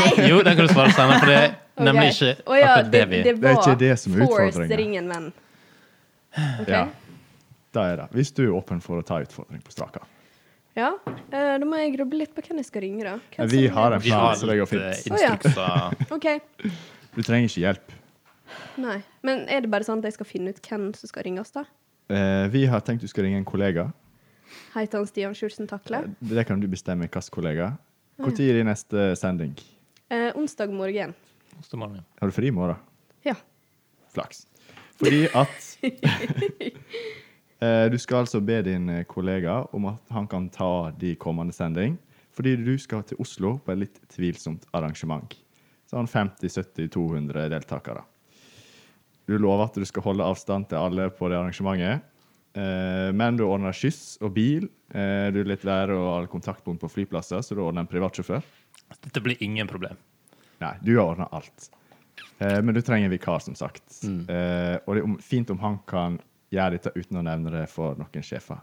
S1: seinere.
S3: Jo, den kan du svare senere, for det er nemlig
S4: (laughs) Ok.
S3: ikke
S4: Å ja,
S3: akkurat det vi
S4: Det,
S1: Det er
S4: var
S1: ikke det som er
S4: force
S1: utfordringen.
S4: ring en venn. Ok.
S1: Ja. Da er det. Hvis du er åpen for å ta utfordring på straka.
S4: Ja, eh, Da må jeg gruble litt på hvem jeg skal ringe, da. Hvem
S1: Vi
S4: som-
S1: har en
S3: Vi
S1: plan,
S3: har
S1: så det går
S3: litt eh,
S1: fint.
S3: instrukser.
S4: OK.
S1: Du trenger ikke hjelp.
S4: Nei. Men er det bare sånn at jeg skal finne ut hvem som skal ringes, da?
S1: Eh, Vi har tenkt du skal ringe en kollega.
S4: Heter han Stian Sjursen Takle?
S1: Det kan du bestemme hvilken kollega.
S4: Mm.
S1: Når er din neste sending?
S4: Eh, onsdag morgen.
S3: Neste morgen.
S1: Har du fri i morgen?
S4: Ja.
S1: Flaks. Fordi at Eh, Du skal altså be din kollega om at han kan ta de kommende sending, fordi du skal til Oslo på et litt tvilsomt arrangement. Sånn 50-70-200 deltakere. Du lover at du skal holde avstand til alle på det arrangementet, eh, men du ordner skyss og bil. eh, Du lar være å ha kontaktpunkt på flyplasser, så du ordner en privatsjåfør.
S3: Dette blir ingen problem.
S1: Nei, du har ordna alt. Eh, men du trenger en vikar, som sagt.
S3: Mm.
S1: Eh, og det er om, fint om han kan gjøre dette uten å nevne det for noen sjefer.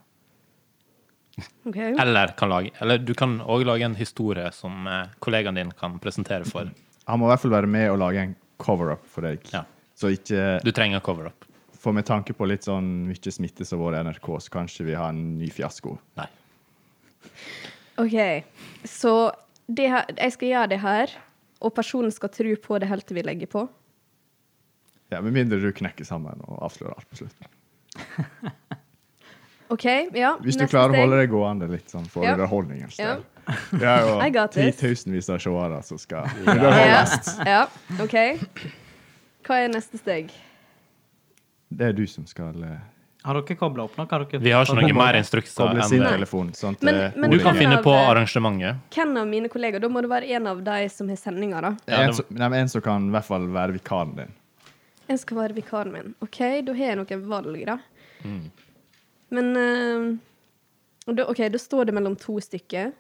S4: OK.
S3: Eller, kan lage, eller du kan òg lage en historie som eh, kollegaen din kan presentere for.
S1: Han må i hvert fall være med og lage en cover-up for deg.
S3: Ja.
S1: Så ikke
S3: Du trenger cover-up.
S1: For med tanke på litt sånn mye smitte som har vært i NRK, så kanskje vi har en ny fiasko.
S3: Nei.
S4: OK. Så det her, jeg skal gjøre det her, og personen skal tro på det helt til vi legger på.
S1: Ja, Med mindre du knekker sammen og avslører alt på slutten.
S4: OK, ja.
S1: Hvis du
S4: neste
S1: klarer å
S4: steg.
S1: holde det gående litt sånn for
S4: Ja.
S1: underholdningens
S4: Ja.
S1: del. Vi har
S4: (laughs) I
S1: jo
S4: got this.
S1: titusenvis av seere som skal
S4: Ja, ja, OK. Hva er neste steg?
S1: Det er du som skal eh,
S2: Har dere kobla opp noe? Har dere
S3: Vi har ikke noen mer instrukser
S1: koble
S3: enn
S1: sin
S3: det.
S1: telefon. Sånn at
S4: Men-
S1: eh,
S4: men
S3: Du
S1: ordet
S3: kan
S1: gir.
S3: finne på arrangementet.
S4: Hvem av mine kollegaer? Da må det være en av de som har sendinga, da.
S3: Ja,
S1: en,
S3: det-
S1: som- nei, men en som kan i hvert fall være vikaren din.
S4: Jeg skal være vikaren min. OK, da har jeg noen valg, da.
S1: Mm.
S4: Men eh, da, OK, da står det mellom to stykker.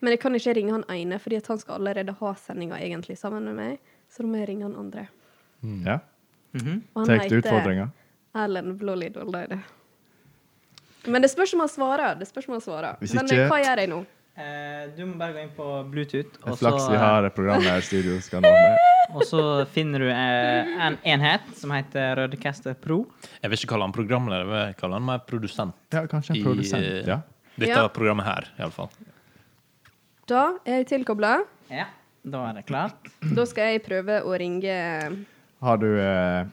S4: Men jeg kan ikke ringe han ene, fordi at han skal allerede ha sendinga egentlig sammen med meg. Så da må jeg ringe han andre.
S1: Ja.
S4: Og han
S1: Tar du
S4: heter
S1: utfordringa?
S4: Erlend Blålid Oldeide. Men det spørs om han svarer. Det spørs om han svarer.
S1: Hvis
S4: Men eh,
S1: ikke-
S4: hva gjør jeg nå?
S2: Eh, du må bare gå inn på Bluetooth,
S1: Det er
S2: og så,
S1: Flaks vi har et program her i studio. Skal nå med.
S2: og så finner du eh, en enhet som heter Rødecaster Pro.
S3: Jeg vil ikke kalle han programleder, jeg vil kalle han mer produsent.
S1: Ja, kanskje en
S3: I, eh,
S1: produsent. Ja.
S3: Dette
S4: Ja.
S3: programmet her, iallfall.
S4: Da er jeg tilkobla.
S2: Ja, da er det klart.
S4: Da skal jeg prøve å ringe
S1: Har du eh,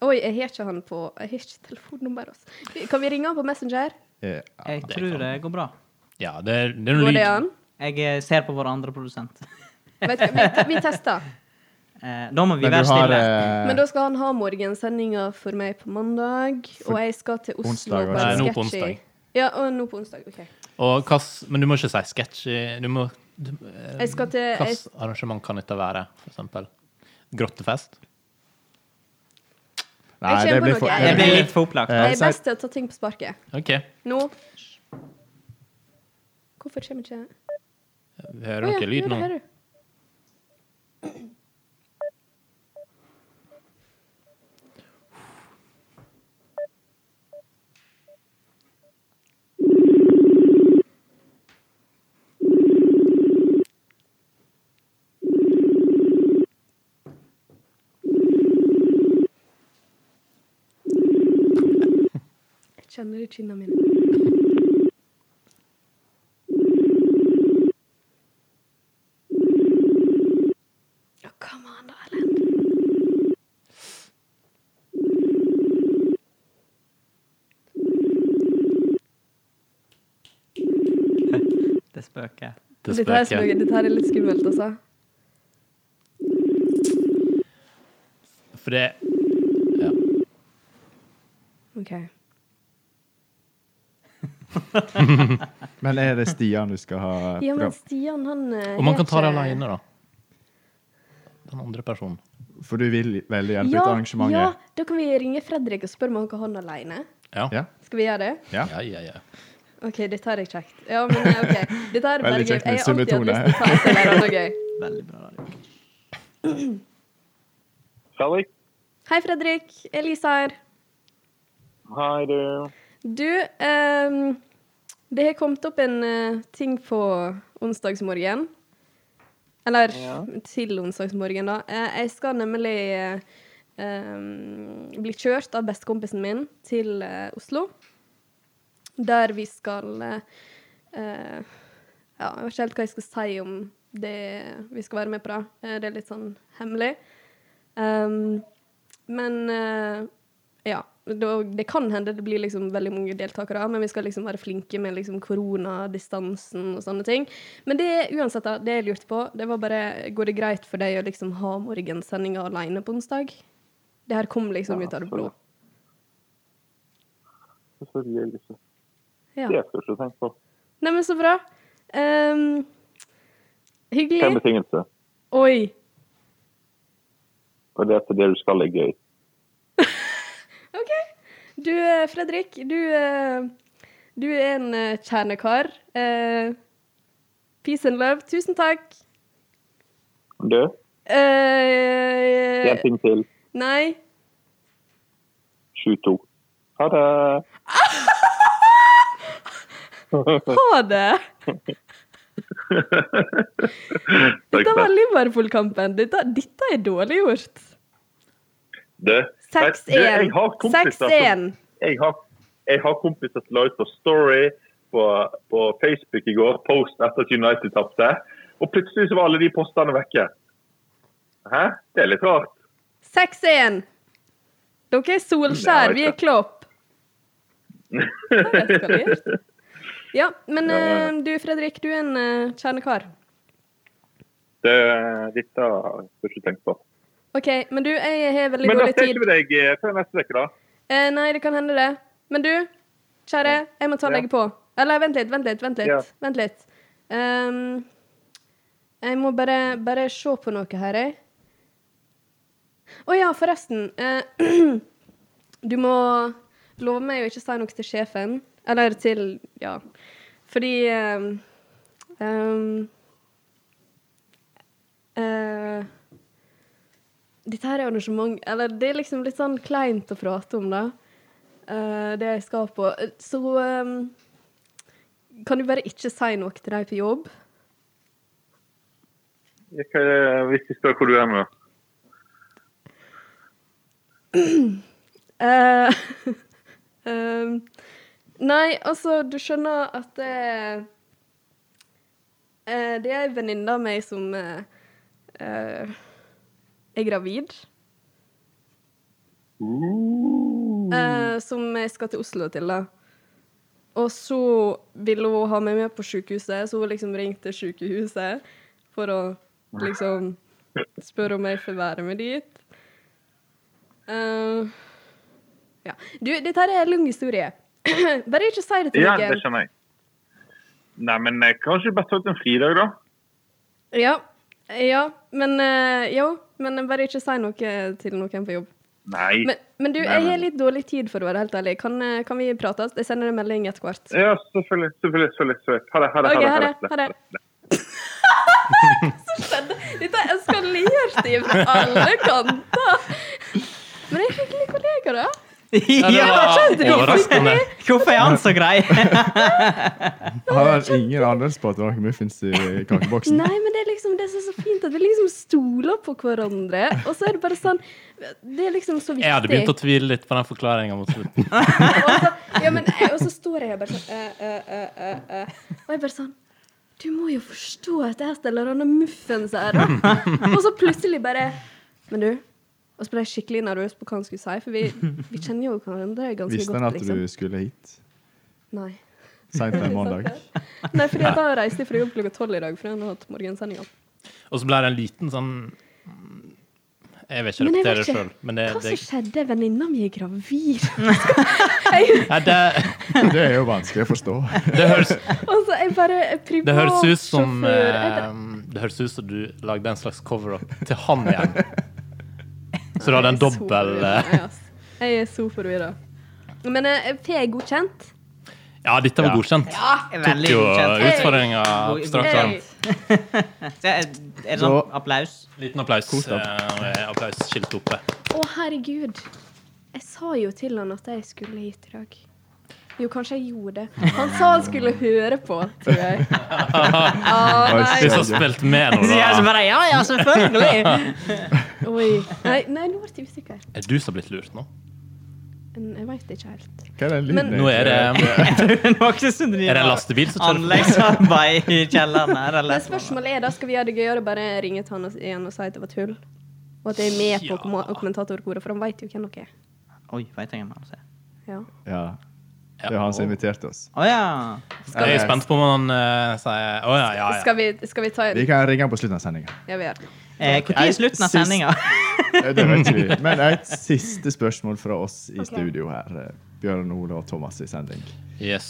S4: Oi, jeg har ikke han på Jeg har ikke telefonnummer. Altså. Kan vi ringe han på Messenger?
S1: eh,
S2: Jeg
S3: det
S2: tror
S3: kan-
S2: det går bra.
S3: Ja, det er, det er noe
S4: Går det
S3: lyd.
S4: an?
S2: Jeg eh, ser på vår andre produsent.
S4: Vet du, hva, vi, vi tester.
S2: Eh, da må vi
S1: Men
S2: være
S1: du har
S2: stille.
S1: eh,
S4: Men da skal han ha morgensendinga for meg på mandag, og jeg skal til Oslo
S1: Onsdag,
S4: på en
S3: Nei, nå på
S4: sketsj i-
S3: onsdag.
S4: Ja, og nå på onsdag. OK.
S3: Og hvilket- men du må ikke si sketsj. Du må
S4: Jeg skal til jeg,
S3: Hvilket arrangement kan dette være, for eksempel? Grottefest?
S1: Nei,
S4: jeg
S1: det
S4: kjenner
S1: blir
S4: på
S1: for
S4: noe.
S2: Det
S1: eh,
S2: blir litt for opplagt.
S1: Eh,
S4: jeg er
S1: så-
S4: best til å ta ting på sparket.
S3: OK.
S4: Nå Hvorfor kommer ikke
S3: Hører
S4: Å
S3: dere lyd
S4: jo, det
S3: nå?
S4: hører du. Jeg Kjenner det i kinnene mine. Come on, da, Erlend.
S2: Det spøker.
S3: Det
S4: Dette her,
S3: spøker.
S4: spøker- dette her er litt skummelt, altså.
S3: For det ja.
S4: OK.
S1: Men er det Stian du skal ha
S4: Ja, men
S1: fram?
S4: Stian, han eh,
S3: Og man
S4: er
S3: kan ta det
S4: ikke-
S3: alene, da. Den andre personen.
S1: For du vil veldig gjerne ut
S4: Ja,
S1: arrangementet?
S4: ja, da kan vi ringe Fredrik og spørre om han kan ha han alene.
S3: Ja.
S1: Ja.
S4: Skal vi gjøre det?
S1: Ja.
S3: ja, ja, ja.
S4: OK, dette her er kjekt. Ja, men eh, OK. Dette her er bare
S1: Veldig
S4: gøy.
S1: kjekt med
S4: Jeg har alltid hatt
S1: summetone.
S4: lyst til å ta et eller annet gøy.
S2: Veldig bra radio.
S5: Fredrik.
S4: Hei, Fredrik. Elisa her.
S5: Hei, du.
S4: Du, ehm, det har kommet opp en eh, ting på onsdagsmorgen. Eller
S5: Ja.
S4: til onsdagsmorgen, da. Eh, jeg skal nemlig eh, ehm, bli kjørt av bestekompisen min til eh, Oslo. Der vi skal eh, eh, Ja, jeg vet ikke helt hva jeg skal si om det vi skal være med på, da. Eh, det er litt sånn hemmelig. Ehm, men eh, ja, da- det kan hende det blir liksom veldig mange deltakere, men vi skal liksom være flinke med liksom koronadistansen og sånne ting. Men det uansett, da, det jeg lurte på, det var bare Går det greit for deg å liksom ha morgensendinga alene på onsdag? Det her kom liksom
S5: Ja,
S4: ut av det blå.
S5: Selvfølgelig. Elise.
S4: Ja.
S5: Det skal du ikke tenke på.
S4: Neimen, så bra. Ehm,
S5: En
S4: hyggelig.
S5: betingelse.
S4: Oi.
S5: Og det er at det du skal, er gøy.
S4: OK. Du, eh, Fredrik, du, eh, du er en eh, kjernekar. Eh, Peace and love. Tusen takk.
S5: Du,
S4: Eh,
S5: en ting til.
S4: nei.
S5: 7-2. Ha det.
S4: (laughs) Ha det!
S5: Takk,
S4: Dette var
S5: takk.
S4: Liverpool-kampen. Dette, dette er dårlig gjort.
S5: Du, vet- du, jeg
S4: 6-1.
S5: har kompiser som
S4: 6-1.
S5: jeg har, jeg har kompiser som la ut på Story på, på Facebook i går, post etter at United tapte. Og plutselig så var alle de postene vekke. Hæ? Det er litt rart.
S4: 6-1. Dere er Solskjær, vi er
S5: (laughs)
S4: Klopp. Jeg vet hva det er. Ja, men
S5: Ja, ja.
S4: eh, du Fredrik, du er en eh, kjernekar.
S5: Det, dette har jeg ikke tenkt på.
S4: OK, men du, jeg har veldig
S5: Men da
S4: dårlig
S5: ser
S4: tid.
S5: ikke vi deg eh, før neste uke, da.
S4: Eh, nei, det kan hende det. Men du, kjære, jeg må ta og
S5: Ja.
S4: legge på. Eller vent litt, vent litt, vent litt.
S5: Ja.
S4: Vent litt. Ehm, jeg må bare, bare se på noe her, jeg. Å ja, forresten. eh, (clears throat) du må love meg å ikke si noe til sjefen. Eller til Ja. Fordi ehm, ehm, eh, dette her er arrangement Eller det er liksom litt sånn kleint å prate om, da. Eh, det jeg skal på. Eh, Så ehm, kan du bare ikke si noe til deg på jobb?
S5: Jeg kan, hvis jeg spør hvor du er med.
S4: Eh, (laughs) ehm, nei, altså, du skjønner at det er eh, Det er ei venninne av meg som eh, eh, er gravid. Eh, som jeg skal til Oslo til, da. Og så ville hun ha meg med på sykehuset, så hun liksom ringte sykehuset for å liksom spørre om jeg får være med dit. Eh, ja. Du, dette her er en lang historie. (clears throat) Bare ikke si det til
S5: Ja,
S4: noen.
S5: det skjønner jeg. Nei, men eh, kanskje best tatt en fridag, da?
S4: Ja. Ja, men eh, Jo, men bare ikke si noe til noen på jobb.
S5: Nei.
S4: Men, men du,
S5: Nei,
S4: jeg
S5: men-
S4: har litt dårlig tid, for å være helt ærlig. Kan, eh, kan vi prates? Jeg sender en melding etter hvert.
S5: Ja, selvfølgelig. selvfølgelig, selvfølgelig, selvfølgelig. Ha det. Ha det.
S4: OK,
S5: ha
S4: ha
S5: det,
S4: det. Ha det. (laughs) Så skjedde Dette eskalerte fra alle kanter. Men jeg er hyggelig kollega, da.
S2: (laughs) Ja,
S4: det var
S3: overraskende.
S2: Hvorfor er han så grei?
S1: Har han ingen anelse på at det var muffins i kakeboksen?
S4: Nei, men det er liksom det som er så fint, at vi liksom stoler på hverandre. Og så er det bare sånn Det er liksom så viktig.
S3: Jeg hadde begynt å tvile litt på den forklaringa mot slutten.
S4: Og så, ja, men, jeg- og så står jeg her bare sånn eh, eh, eh, eh, eh. Og jeg bare sånn Du må jo forstå at jeg steller denne muffens her, da. og så plutselig bare Men du. Og så ble jeg skikkelig nervøs på hva han skulle si, for vi, vi kjenner jo hverandre ganske
S1: Visste han
S4: godt,
S1: at
S4: liksom.
S1: du skulle hit
S4: Nei.
S1: seint en
S4: (laughs)
S1: mandag?
S4: Nei, fordi at jeg reiste fra jobb klokka tolv i dag, fordi han har hatt morgensendinga.
S3: Og så ble det en liten sånn Jeg vil ikke
S4: Men jeg
S3: repetere det
S4: vet ikke.
S3: sjøl, men det,
S4: Hva
S3: det,
S4: som skjedde? Venninna mi er gravid. (laughs)
S3: Nei, det,
S1: Det er jo vanskelig å forstå. (laughs)
S3: det, høres,
S4: Altså, jeg bare
S3: det høres ut som
S4: privatsjåfør. Jeg
S3: eh,
S4: bare-
S3: Det høres ut som du lagde en slags cover-up til han igjen. Så du hadde en
S4: Jeg er så
S3: dobbel (laughs)
S4: forvirret,
S3: eh,
S4: jeg, ass. Jeg er så forvirra. Men eh, får jeg godkjent?
S3: Ja, dette var
S1: Ja.
S3: godkjent. Tok
S2: Veldig
S3: jo eh,
S2: kjent.
S3: utfordringa på strakt arm.
S4: Hey.
S2: Så Er er det sånn applaus?
S3: Liten applaus.
S1: Kos deg.
S3: eh, Applausskilt oppe.
S4: Å, herregud. Jeg sa jo til han at jeg skulle hit i dag. Jo, kanskje jeg gjorde det. Han sa han skulle høre på, tror
S3: (laughs)
S4: jeg. Ah,
S3: Hvis
S4: nei.
S3: du har spilt med nå,
S2: Så jeg så
S3: da
S2: bare, (laughs) ja, ja, selvfølgelig!
S4: Oi. Nei, nei, nå ble jeg usikker.
S3: Er du som har blitt lurt nå?
S4: Men Jeg veit ikke helt.
S1: Hva er den
S4: Men-
S1: lyden?
S3: Nå er det, er det en
S2: Er
S3: lastebil som kjører forbi?
S2: Anleggsarbeid (laughs) i kjelleren her. eller
S4: Men spørsmålet er da, skal vi gjøre det gøyere bare ringe til han og- igjen og si at det var tull? Og at jeg er med på
S3: Ja.
S4: komma- kommentatorkoret, for han veit jo hvem dere er.
S2: Oi, vet jeg hva han sier.
S4: Ja.
S1: Ja. Det er
S3: Ja.
S1: han som inviterte oss.
S2: Å ja.
S3: (laughs) Jeg er spent på om han eh, sier Å ja, ja, ja.
S4: Skal vi, skal vi ta
S1: Vi
S4: en
S1: kan ringe han på slutten av sendinga.
S4: Ja, vi gjør det.
S2: Eh, Når er slutten av
S1: Sist.
S2: sendinga?
S1: Det vet vi. Men et siste spørsmål fra oss i
S4: Ok.
S1: studio her. eh, Bjørn Ole og Thomas i sending.
S3: Yes.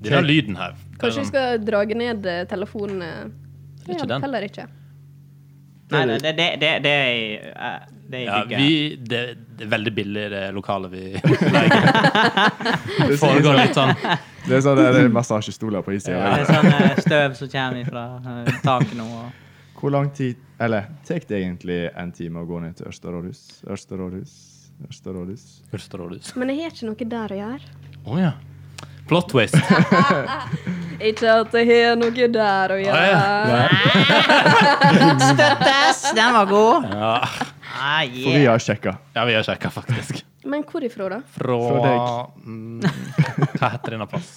S3: Denne lyden her hva er
S4: Kanskje vi
S3: den?
S4: skal drage ned eh, telefonen? eh, Det
S3: Ikke
S4: hjelper
S3: den.
S4: heller ikke.
S2: (laughs) Nei, nei, det, det, det, det er i eh, det er i
S3: ja,
S2: bygget.
S3: vi, det, det er veldig billig, det lokalet vi
S1: Det er sånn,
S3: foregår litt sånn.
S1: det er sånn der massasjestoler på
S2: Det er
S1: isen.
S2: sånn eh, støv som kommer fra eh, taket nå. og-
S1: Hvor lang tid Eller tar det egentlig en time å gå ned til Ørsterådhus? Ørsterådhus? Ørsterådhus?
S3: Ørsterådhus.
S4: Men jeg har ikke noe der å gjøre.
S3: Å ja. Plot twist.
S4: Ikke at jeg har noe der å
S3: Å,
S4: gjøre.
S2: Støttes! Den var god.
S3: Ja,
S2: Ah,
S1: For vi
S2: yeah.
S1: har sjekka.
S3: ja vi har sjekka, faktisk.
S4: Men hvor ifra, da?
S3: Fra
S1: Fra
S3: mm, Hva heter denne plass?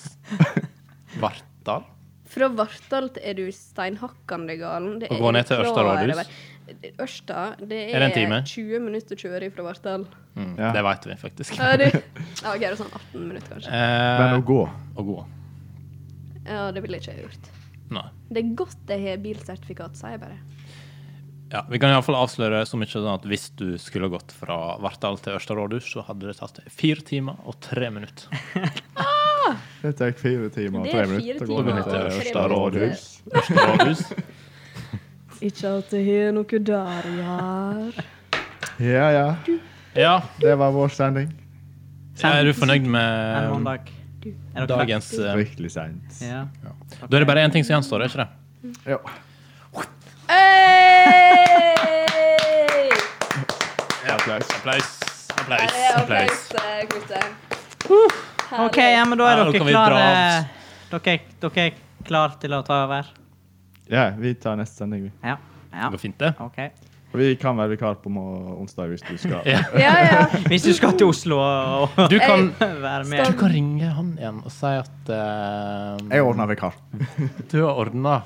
S3: Vartdal?
S4: Fra Vartdal til er du steinhakkande galen. Det
S3: Å gå ned til
S4: er
S3: Ørsta
S4: klar
S3: rådhus?
S4: over. Ørsta, det
S3: Er det
S4: er,
S3: en time?
S4: 20 minutter å kjøre ifra
S3: (laughs)
S4: Vartdal.
S3: Mm,
S1: Ja.
S3: Det veit vi faktisk.
S4: Ja, du. Ja, ok, det er sånn 18 minutter, kanskje.
S1: Men
S3: Eh,
S1: å gå
S3: og gå.
S4: Ja, det ville ikke jeg gjort.
S3: Nei.
S4: Det er godt jeg har bilsertifikat, sier jeg bare.
S3: Ja, vi kan iallfall avsløre så mye sånn at hvis du skulle gått fra Vartdal til Ørsta rådhus, så hadde det tatt fire timer og tre minutter.
S1: Det tar fire timer og
S4: Det er
S1: tre
S4: fire
S1: minutter å gå
S4: timer
S1: ned
S3: og
S1: til
S3: tre
S1: Ørsterådhus.
S3: Ørsta
S2: (laughs)
S3: rådhus.
S4: Ikke at jeg har noe der å gjøre.
S1: Ja, ja.
S3: Ja,
S1: Det var vår sending.
S3: er du fornøyd
S2: En
S3: med
S2: mandag. Er dere
S3: dagens eh,
S1: Fryktelig seint.
S2: klare? Ja.
S3: Da er det bare én ting som gjenstår, er ikke det?
S1: Ja.
S4: Hey!
S1: Applaus.
S3: Applaus.
S4: Her
S3: Applaus.
S4: er
S3: applaus.
S4: applaus, eh, Knute. Herlig.
S2: OK, ja, men da
S3: Ja,
S2: er
S3: nå
S2: dere
S3: kan vi dra
S2: klare
S3: av.
S2: Dere, dere er klare til å ta over?
S1: Ja, vi tar neste sending, vi.
S2: Ja. ja.
S3: Det går fint, det.
S2: OK.
S1: Og vi kan være vikar på må- onsdag hvis du skal.
S3: Ja.
S4: Ja, ja.
S2: Hvis du skal til Oslo og (laughs) og
S3: Du kan,
S2: være
S3: du
S2: med
S3: kan ringe han igjen og si at eh,
S1: Jeg ordner vikar.
S3: Du har (laughs) ordna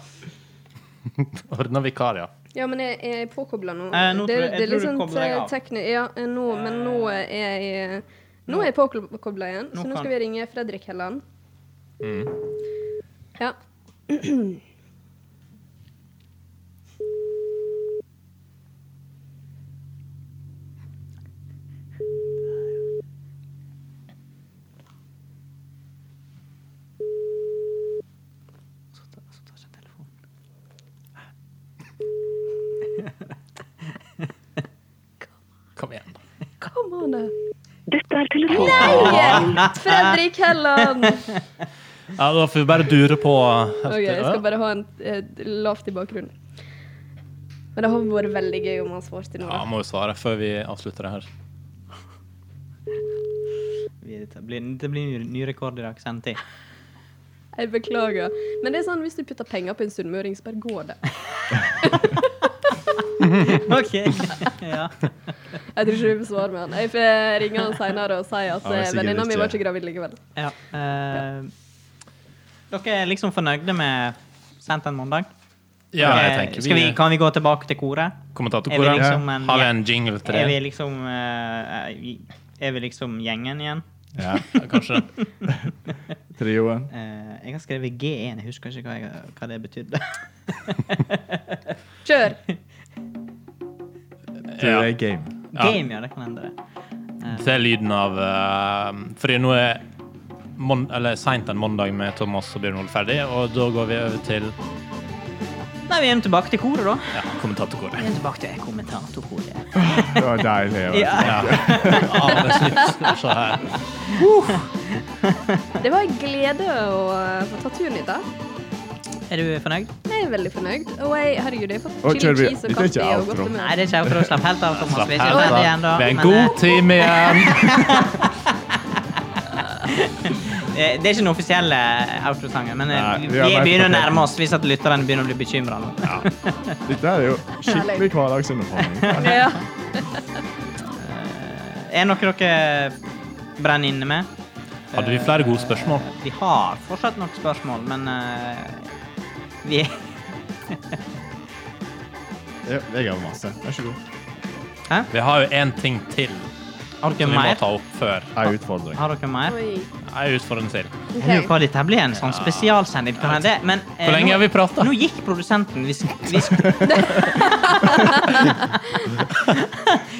S3: Ordna vikar, ja.
S4: Ja, men jeg jeg er påkobla nå.
S2: Eh, nå
S4: det,
S2: tror jeg- jeg
S4: det er
S2: tror
S4: litt
S2: du
S4: sånn
S2: kobler deg av.
S4: tekni... Ja, eh, nå, men nå er jeg eh, Nå er jeg påkobla igjen,
S2: Nå
S4: så nå
S2: kan-
S4: skal vi ringe Fredrik Helland.
S3: Mm.
S4: Ja.
S2: Så tar- så tar jeg telefonen.
S3: Kom igjen.
S4: Kom an, da.
S6: Dette er telefonen.
S4: Nei! Fredrik
S2: (laughs)
S4: Helland! OK,
S3: Ja, Da får vi bare dure på. helt til-
S4: jeg skal bare ha en eh, lavt i bakgrunnen. Men det hadde vært veldig gøy om han svarte nå.
S3: Ja,
S4: da.
S3: må jo svare før vi avslutter det her.
S2: Vi- Det blir, det blir ny, ny rekord i dag. (laughs) Sendetid.
S4: Jeg beklager. Men det er sånn hvis du putter penger på en sunnmøring, så bare går det.
S2: OK. (laughs) Ja.
S4: Jeg tror ikke du får svar med han. Jeg får ringe han seinere og si at
S1: Ja, men
S4: eh,
S1: sikkert
S4: venninna mi
S1: ikke.
S4: var ikke gravid likevel.
S2: ja. eh, dere er liksom fornøyde med sendt en mandag?
S3: Ja, jeg
S2: Eh,
S3: tenker
S2: Skal vi, kan vi gå tilbake til koret? Er
S3: Kommentatorkoret.
S2: vi liksom en-
S3: Har vi en jingle til
S2: Er vi
S3: det?
S2: liksom eh, Er vi liksom gjengen igjen?
S1: Ja.
S3: Ja, kanskje.
S1: Trioen.
S2: (laughs) Eh, jeg har skrevet G1, jeg husker ikke hva, jeg, hva det betydde.
S4: Kjør!
S1: Ja.
S3: Ja.
S1: Game.
S3: (laughs) Ja.
S2: Game, ja, det kan hende det.
S3: Det er lyden av uh, Fordi nå er mon eller seint en mandag med Thomas og Bjørn Ole ferdig, og da går vi over til
S2: Nei, vi er nå tilbake til koret, da.
S3: ja, kommentatorkoret.
S2: Vi er nå tilbake til kommentatorkoret.
S1: Det var deilig. vet du.
S2: (laughs) Ja.
S3: Ja. Arbeidslyst. Se her.
S4: (laughs) Det var en glede å eh, få ta turen hit. da.
S2: Er du fornøyd?
S4: Jeg er veldig fornøyd. Og jeg, herregud, jeg har
S1: Å,
S4: fått
S1: kjører
S4: chili
S1: vi-
S4: cheese
S1: dette er
S4: og
S1: ikke
S4: kaffe og
S1: outro.
S2: Nei,
S4: godtemel.
S2: det er ikke outro. Slapp helt av, Thomas.
S3: Slapp
S2: Vi er
S3: helt
S2: ikke ferdig
S3: av.
S2: ennå.
S3: Det er en
S2: men, eh,
S3: god time igjen.
S2: (laughs) Eh, Det er ikke den offisielle outro-sangen, men eh,
S1: Nei,
S2: vi,
S1: vi har vært på
S2: begynner å
S1: feil.
S2: nærme oss hvis at lytterne begynner å bli bekymra nå.
S1: Dette er jo skikkelig hverdagsunderholdning.
S4: Ja.
S2: Eh, Er noe dere brenner inne med? Eh,
S3: Hadde vi flere gode spørsmål?
S2: Vi har fortsatt noen spørsmål, men eh, vi
S1: Ja, jeg har masse. Vær så god.
S2: (laughs) Hæ?
S3: Vi har jo én ting til
S2: Har dere
S3: som vi må
S2: mer?
S3: ta opp før.
S1: Ei utfordring.
S2: Har dere mer?
S4: Oi.
S3: Jeg utfordrer den til.
S2: Jeg lurer på
S4: OK.
S2: hva dette blir en sånn spesialsending. Kan hende det, Men eh,
S3: Hvor lenge
S2: nå-
S3: har vi prata?
S2: Nå gikk produsenten. Vi, sk- vi, sk-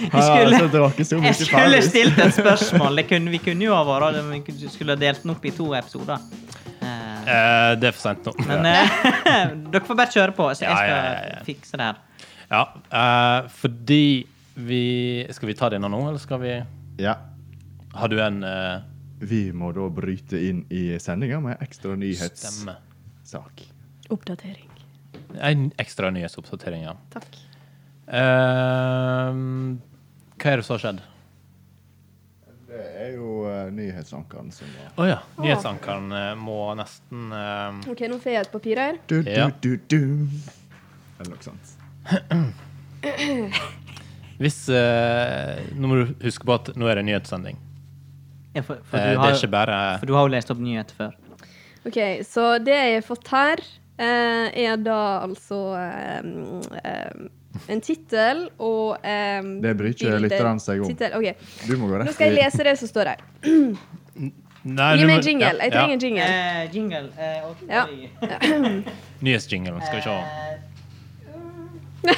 S1: Ja,
S2: skulle-
S1: altså, det var ikke så mye
S2: jeg skulle
S1: ferdig.
S2: stilt et spørsmål. Det kunne, vi kunne jo ha vært det, men vi skulle ha delt den opp i to episoder. Eh,
S3: Eh, det er for seint nå.
S2: Men eh, (laughs) dere får bare kjøre på, så jeg
S3: Ja,
S2: skal
S3: ja, ja, ja.
S2: fikse det her.
S3: Ja, eh, fordi vi Skal vi ta denne nå, eller skal vi
S1: Ja.
S3: Har du en eh,
S1: Vi må da bryte inn i sendinga med ekstra
S3: stemme?
S1: nyhetssak.
S4: (laughs) Oppdatering.
S3: En ekstra nyhetsoppdatering, ja.
S4: Takk.
S3: Eh, hva er det som har skjedd?
S1: Det er jo uh, nyhetsankeren som var
S3: Å ja. Nyhetsankeren eh, må nesten eh,
S4: OK, nå får jeg et papir her.
S1: du,
S3: Ja.
S1: du, du, du. Eller noe sånt.
S3: Hvis eh, Nå må du huske på at nå er det nyhetssending.
S2: Ja, for, for, du
S3: Eh, det
S2: har,
S3: er ikke bare
S2: for du har jo lest opp nyheter før.
S4: OK, så det jeg har fått her, eh, er da altså eh, mm, eh, en tittel og eh,
S1: Det bryr ikke
S4: bilde-
S1: lytteren seg om.
S4: Tittel, ok.
S1: Du må gå rett
S4: Nå skal jeg lese det som står her.
S3: Nei,
S4: Gi
S3: du
S4: meg
S3: må-
S4: jingle.
S3: ja,
S4: Jeg trenger en jingle.
S2: Eh. jingle. eh,
S4: Ja.
S3: Ja. Nyhetsjingle. Skal vi se.
S2: Eh,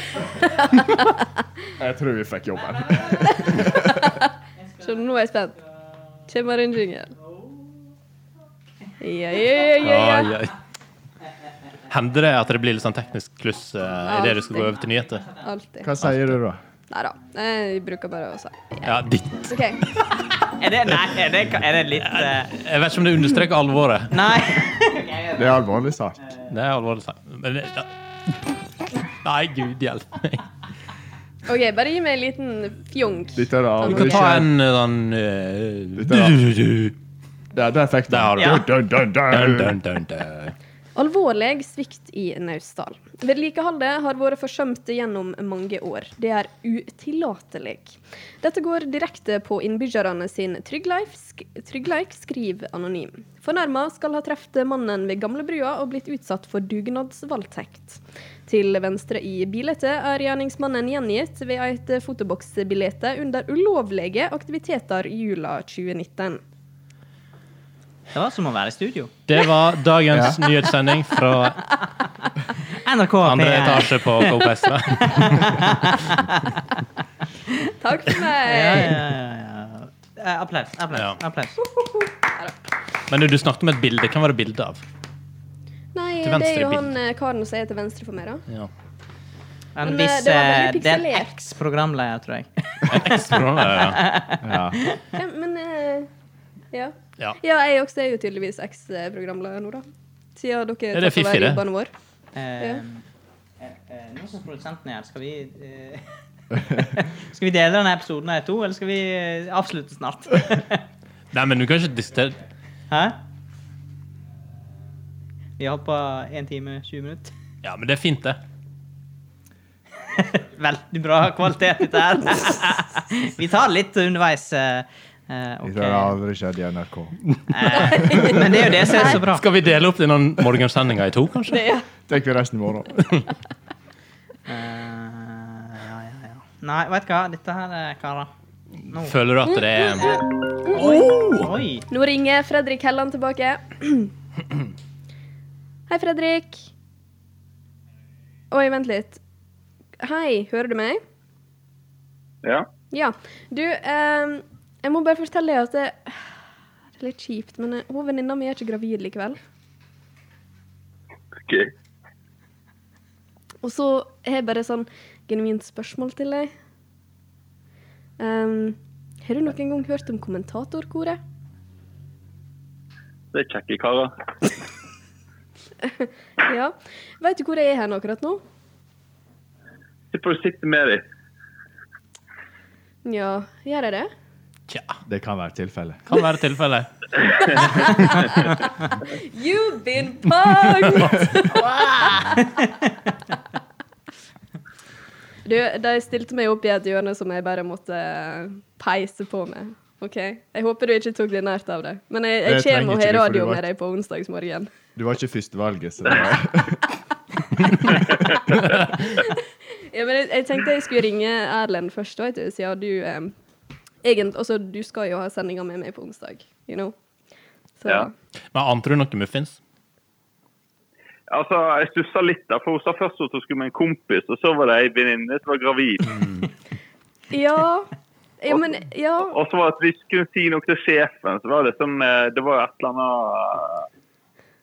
S1: Jeg tror vi fikk jobben. (laughs)
S4: Så nå er jeg spent. Kommer en jingle. Ja, ja, ja, ja, ja.
S3: Ai, ai. Hender det at det blir litt sånn teknisk kluss uh, idet du skal gå over til nyheter?
S4: Alltid.
S1: Hva sier du da?
S4: Nei da. Jeg bruker bare å si
S3: Ja, ditt.
S4: OK.
S2: Er det Nei, er det, er det litt eh,
S3: Jeg vet ikke om det understreker alvoret.
S2: Nei. (laughs)
S1: Det er alvorlig sak.
S3: Det er alvorlig sagt. Men det, ja. Nei, gud hjelpe meg.
S4: OK, bare gi meg en liten fjonk.
S1: Dette er det
S3: Du kan
S1: aldri
S3: ta
S1: skjedd.
S3: en eh, sånn
S1: Dette er-
S3: eh,
S1: Der, der fikk du
S3: Der har du
S1: den. Dun, dun,
S3: dun,
S1: dun, dun.
S3: dun, dun, dun.
S4: Alvorlig svikt i Naustdal. Vedlikeholdet har vært forsømt gjennom mange år. Det er utillatelig. Dette går direkte på innbyggerne sin tryggleik, sk tryggleik skriver Anonym. Fornærma skal ha truffet mannen ved gamlebrua og blitt utsatt for dugnadsvoldtekt. Til venstre i bildet er gjerningsmannen gjengitt ved et fotoboksbilde under ulovlige aktiviteter i jula 2019.
S2: Det var som å være i studio.
S3: Det var dagens nyhetssending fra
S2: NRK
S3: andre
S2: P1.
S3: etasje på Coop Extra.
S4: Takk for
S2: Ja,
S4: meg!
S2: ja, ja, ja. Eh, Applaus. applaus,
S3: Ja.
S2: applaus.
S3: Men du, du snakket om et bilde. Hvem var det bilde av?
S4: Nei,
S3: Til
S4: det er
S3: venstre i
S4: jo
S3: bilen.
S4: han eh, karen som er til venstre for meg, da.
S3: Ja.
S2: En
S4: Men, eh,
S2: viss
S4: det var
S2: eh,
S4: veldig
S2: Det er en
S4: pikselert.
S2: eks-programleder, tror jeg.
S3: En ekstra,
S6: (laughs)
S1: Ja.
S4: Ja, men eh, ja.
S3: ja.
S4: ja, jeg også er jo tydeligvis eks-programleder nå, da. Siden dere
S3: det er
S4: tar
S3: fiffig,
S4: over
S3: det.
S4: jobben vår.
S2: (laughs) Eh, eh, eh, Nå som produsenten er her, skal vi eh, (laughs) Skal vi dele denne episoden her i to, eller skal vi eh, avslutte snart? (laughs)
S3: Nei, men du kan ikke diste...
S2: Hæ? Vi har holdt på 1 time 20 minutter.
S3: Ja, men det er fint, det.
S4: (laughs)
S2: Veldig bra kvalitet, dette her. Vi tar litt underveis. eh, Eh, ok.
S6: Det har aldri skjedd i NRK.
S2: Eh, men det er jo det som er så bra.
S3: Skal vi dele opp denne morgensendinga i to, kanskje?
S4: Det, ja.
S6: Tar vi resten i morgen.
S2: Eh, ja, ja, ja. Nei, vet du hva? Dette her, eh, karer Nå.
S3: Føler du at det er
S4: Mm.
S2: Oi!
S4: Nå ringer Fredrik Helland tilbake. Hei, Fredrik. Oi, vent litt. Hei, hører du meg?
S5: Ja.
S4: Ja. Du, ehm, jeg må bare fortelle deg at det, (sighs) det er litt kjipt, men eh, hun venninna mi er ikke gravid likevel.
S5: OK.
S4: Og så har jeg bare sånn genuint spørsmål til deg. Ehm, har du noen gang hørt om kommentatorkoret?
S5: Det er kjekke karer.
S4: (laughs) Ja. Vet du hvor jeg er hen akkurat nå?
S5: Tipper du sitter med dem.
S4: Ja, gjør jeg det?
S3: Tja,
S1: (laughs) Det kan være tilfellet.
S3: kan være tilfellet.
S4: You've been
S1: (laughs)
S4: punked! du, de stilte meg opp i et hjørne som jeg bare måtte eh, peise på med. OK? Jeg håper du ikke tok det nært av deg. Men jeg, jeg
S1: Det trenger
S4: kommer og
S1: ikke
S4: har
S1: du, for
S4: radio
S1: du
S4: med
S1: var-
S4: deg på onsdagsmorgen.
S1: Du var ikke førstevalget, så det var
S4: Ja, men jeg, jeg tenkte jeg skulle ringe Erlend først, da, vet du, siden du eh, Egentlig, altså, du skal jo ha sendinga med meg på onsdag, you know. Så
S5: Ja.
S3: Men ante du noe muffins?
S5: Altså, Jeg stussa litt, da, for hun sa først at hun skulle med en kompis, og så var det ei venninne som var gravid.
S4: Mm.
S1: (laughs)
S4: Ja, ja men Ja.
S5: Og så var det at vi skulle si noe til sjefen, så var det som eh, Det var et eller annet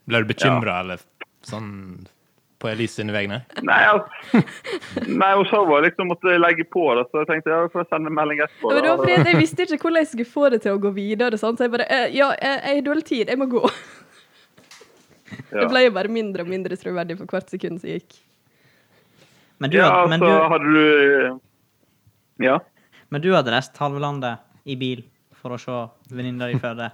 S3: Ble du bekymra, eller sånn på Elise sine vegne?
S5: Nei,
S4: (laughs)
S5: altså, nei hun sa bare liksom måtte legge på det, så jeg tenkte ja, vi får sende en melding etterpå.
S4: Ja, men det var fordi
S5: da.
S4: at Jeg visste ikke hvordan jeg skulle få det til å gå videre. Sant? Så jeg bare eh, Ja, jeg, jeg har dårlig tid, jeg må gå.
S5: Ja.
S4: Det ble jo bare mindre og mindre troverdig for hvert sekund som gikk.
S2: Men du,
S5: Ja, altså,
S2: hadde- men
S5: så
S2: du,
S5: hadde du eh, Ja.
S2: men du hadde reist halve landet i bil for å se venninna di føde.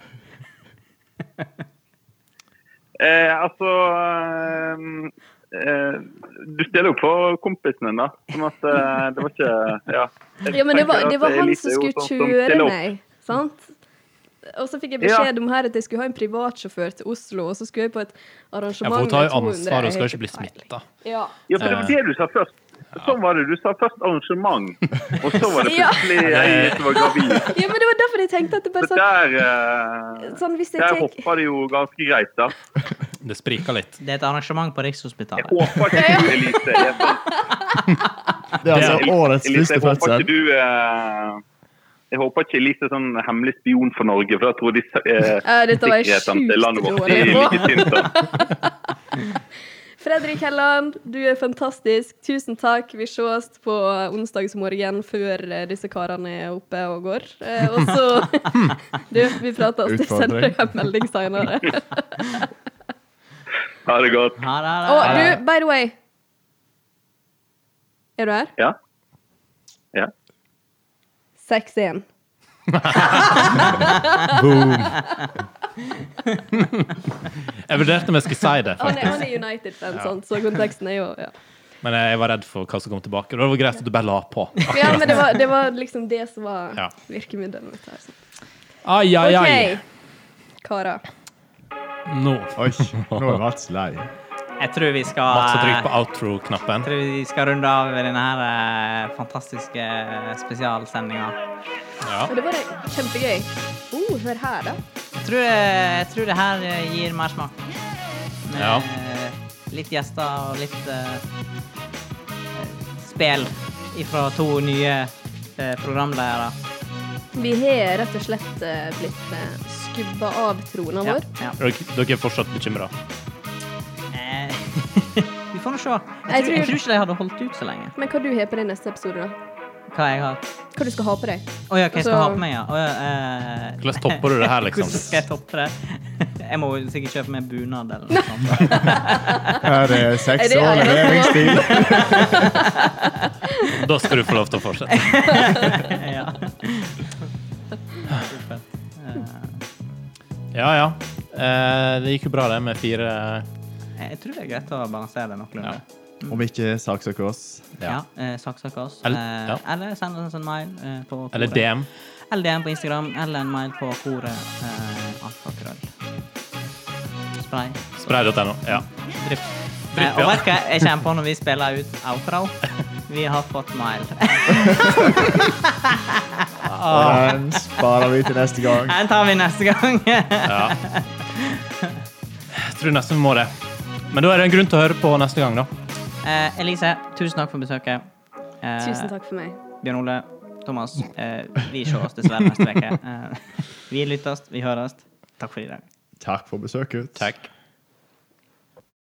S5: Eh, altså eh, eh, Du stiller jo på kompisen din, da. Sånn at eh, det var
S2: (laughs)
S5: ikke Ja. Jeg
S4: Ja, men det var,
S5: tenker
S4: det
S5: at
S4: var han som
S5: Elise er jo
S4: skulle
S5: sånn som
S4: kjøre
S5: stiller opp.
S4: meg, sant? Og så fikk jeg
S5: Ja.
S4: beskjed om her at jeg skulle ha en privatsjåfør til Oslo, og så skulle jeg på et
S3: Ja,
S4: arrangement
S3: for hun tar jo
S4: med 200
S3: ansvar, hun skal
S4: helt
S3: ikke bli
S4: feil.
S3: smitta.
S4: Ja.
S5: Ja, for det var det du sa først. Sånn var det. Du sa først arrangement, og så var det
S4: Ja.
S5: plutselig ei som var gravid.
S4: ja, (laughs) men det var derfor jeg tenkte at det bare
S5: Så
S4: sånn,
S5: der eh,
S4: sånn Hvis jeg
S5: Der
S4: tek
S5: hoppa det jo ganske greit, da.
S3: Det spriker litt.
S2: Det er et arrangement på
S5: Jeg
S2: Rikshospitalet.
S5: håper ikke Elise er sånn.
S6: Det er altså årets første
S5: Elise, jeg håper ikke
S6: fødsel.
S5: du eh, Jeg håper ikke Elise er sånn hemmelig spion for Norge, for da tror de eh,
S4: Ja, dette var jeg
S5: sikkerheten til landet
S4: sjukt
S5: vårt
S4: dårlig
S5: er
S4: på.
S5: like tynt. da.
S4: Fredrik Helland, du er fantastisk. Tusen takk. Vi ses på onsdagsmorgen før eh, disse karene er oppe og går. Eh, Og så Du, vi prates. Du sender deg en melding seinere.
S5: Ha det godt.
S2: Her er
S4: Og
S2: det.
S4: du, by the way Er du her?
S5: Ja. Ja.
S4: 6-1.
S3: Jeg vurderte om jeg skulle si det,
S4: Han er,
S3: faktisk,
S4: han er United-fan, sant, sånn, så konteksten er jo ja.
S3: men jeg var redd for hva som kom tilbake. Det var greit at du bare la på.
S4: ja, men det var, det var liksom det som var
S3: Ja.
S4: virkemiddelet mitt her. sant.
S3: Ai, ai, ai.
S4: OK, karer.
S3: Nå.
S1: Oi, nå er Mats lei.
S2: Jeg tror vi skal
S3: Mats
S2: eh,
S3: har trykt på outro-knappen.
S2: Jeg tror vi skal runde av denne her eh, fantastiske eh, spesialsendinga.
S3: Ja.
S4: Og det var da kjempegøy. Oh, hør her, da.
S2: Jeg tror, eh, jeg tror det her eh, gir mersmak. Med
S3: Ja.
S2: eh, litt gjester og litt eh, spel fra to nye eh, programledere.
S4: Vi har rett og slett eh, blitt eh, skubba av trona
S2: Ja,
S4: vår.
S2: ja.
S3: Dere dere er fortsatt bekymra.
S2: Eh, (laughs) vi får nå se. Jeg tror,
S4: Jeg
S2: jeg
S4: tror-
S2: tror ikke de hadde holdt ut så lenge.
S4: Men hva du har på deg neste episode, da?
S2: Hva jeg har
S4: Hva du skal ha på deg?
S2: Å ja, hva jeg skal
S4: Altså-
S2: ha på meg, ja. Å ja, eh,
S3: Hvordan topper du det her,
S2: (laughs)
S3: liksom?
S2: Hvordan skal jeg toppe det? Jeg må jo sikkert kjøpe meg bunad eller noe sånt. (laughs)
S6: Her er
S4: Er
S6: seks
S4: det-
S6: år
S4: er
S6: med
S4: det-
S6: leveringstid.
S3: Da skal du få lov til å
S4: (laughs)
S3: fortsette.
S2: ja.
S3: Ja, ja. Eh, det gikk jo bra, det, med fire
S2: Jeg tror det er greit å balansere det noenlunde.
S1: Om ikke saksøker oss.
S2: Ja. Eh, Saksak oss.
S3: Eller-
S2: eh,
S3: ja.
S2: eller send oss en mail eh, på
S3: Eller DM.
S2: LDN på Instagram eller en mail på koret. Eh, alfakrøll. Spray.
S3: Spray.no. Ja.
S2: Drypp.
S3: Drypp,
S2: Eh, og
S3: ja.
S2: vet du hva jeg
S3: (laughs)
S2: kommer på når vi spiller ut outro? Vi har fått mail.
S6: Den sparer vi til neste gang.
S2: Den tar vi neste gang.
S3: ja. Jeg tror nesten vi må det. Men da er det en grunn til å høre på neste gang, da.
S2: Eh, Elise, tusen takk for besøket. Eh,
S4: Tusen takk for meg.
S2: Bjørn Ole, Thomas, eh, vi ses dessverre neste uke. Eh, vi lyttes, vi høres. Takk for i dag.
S1: Takk for besøket.
S3: Takk.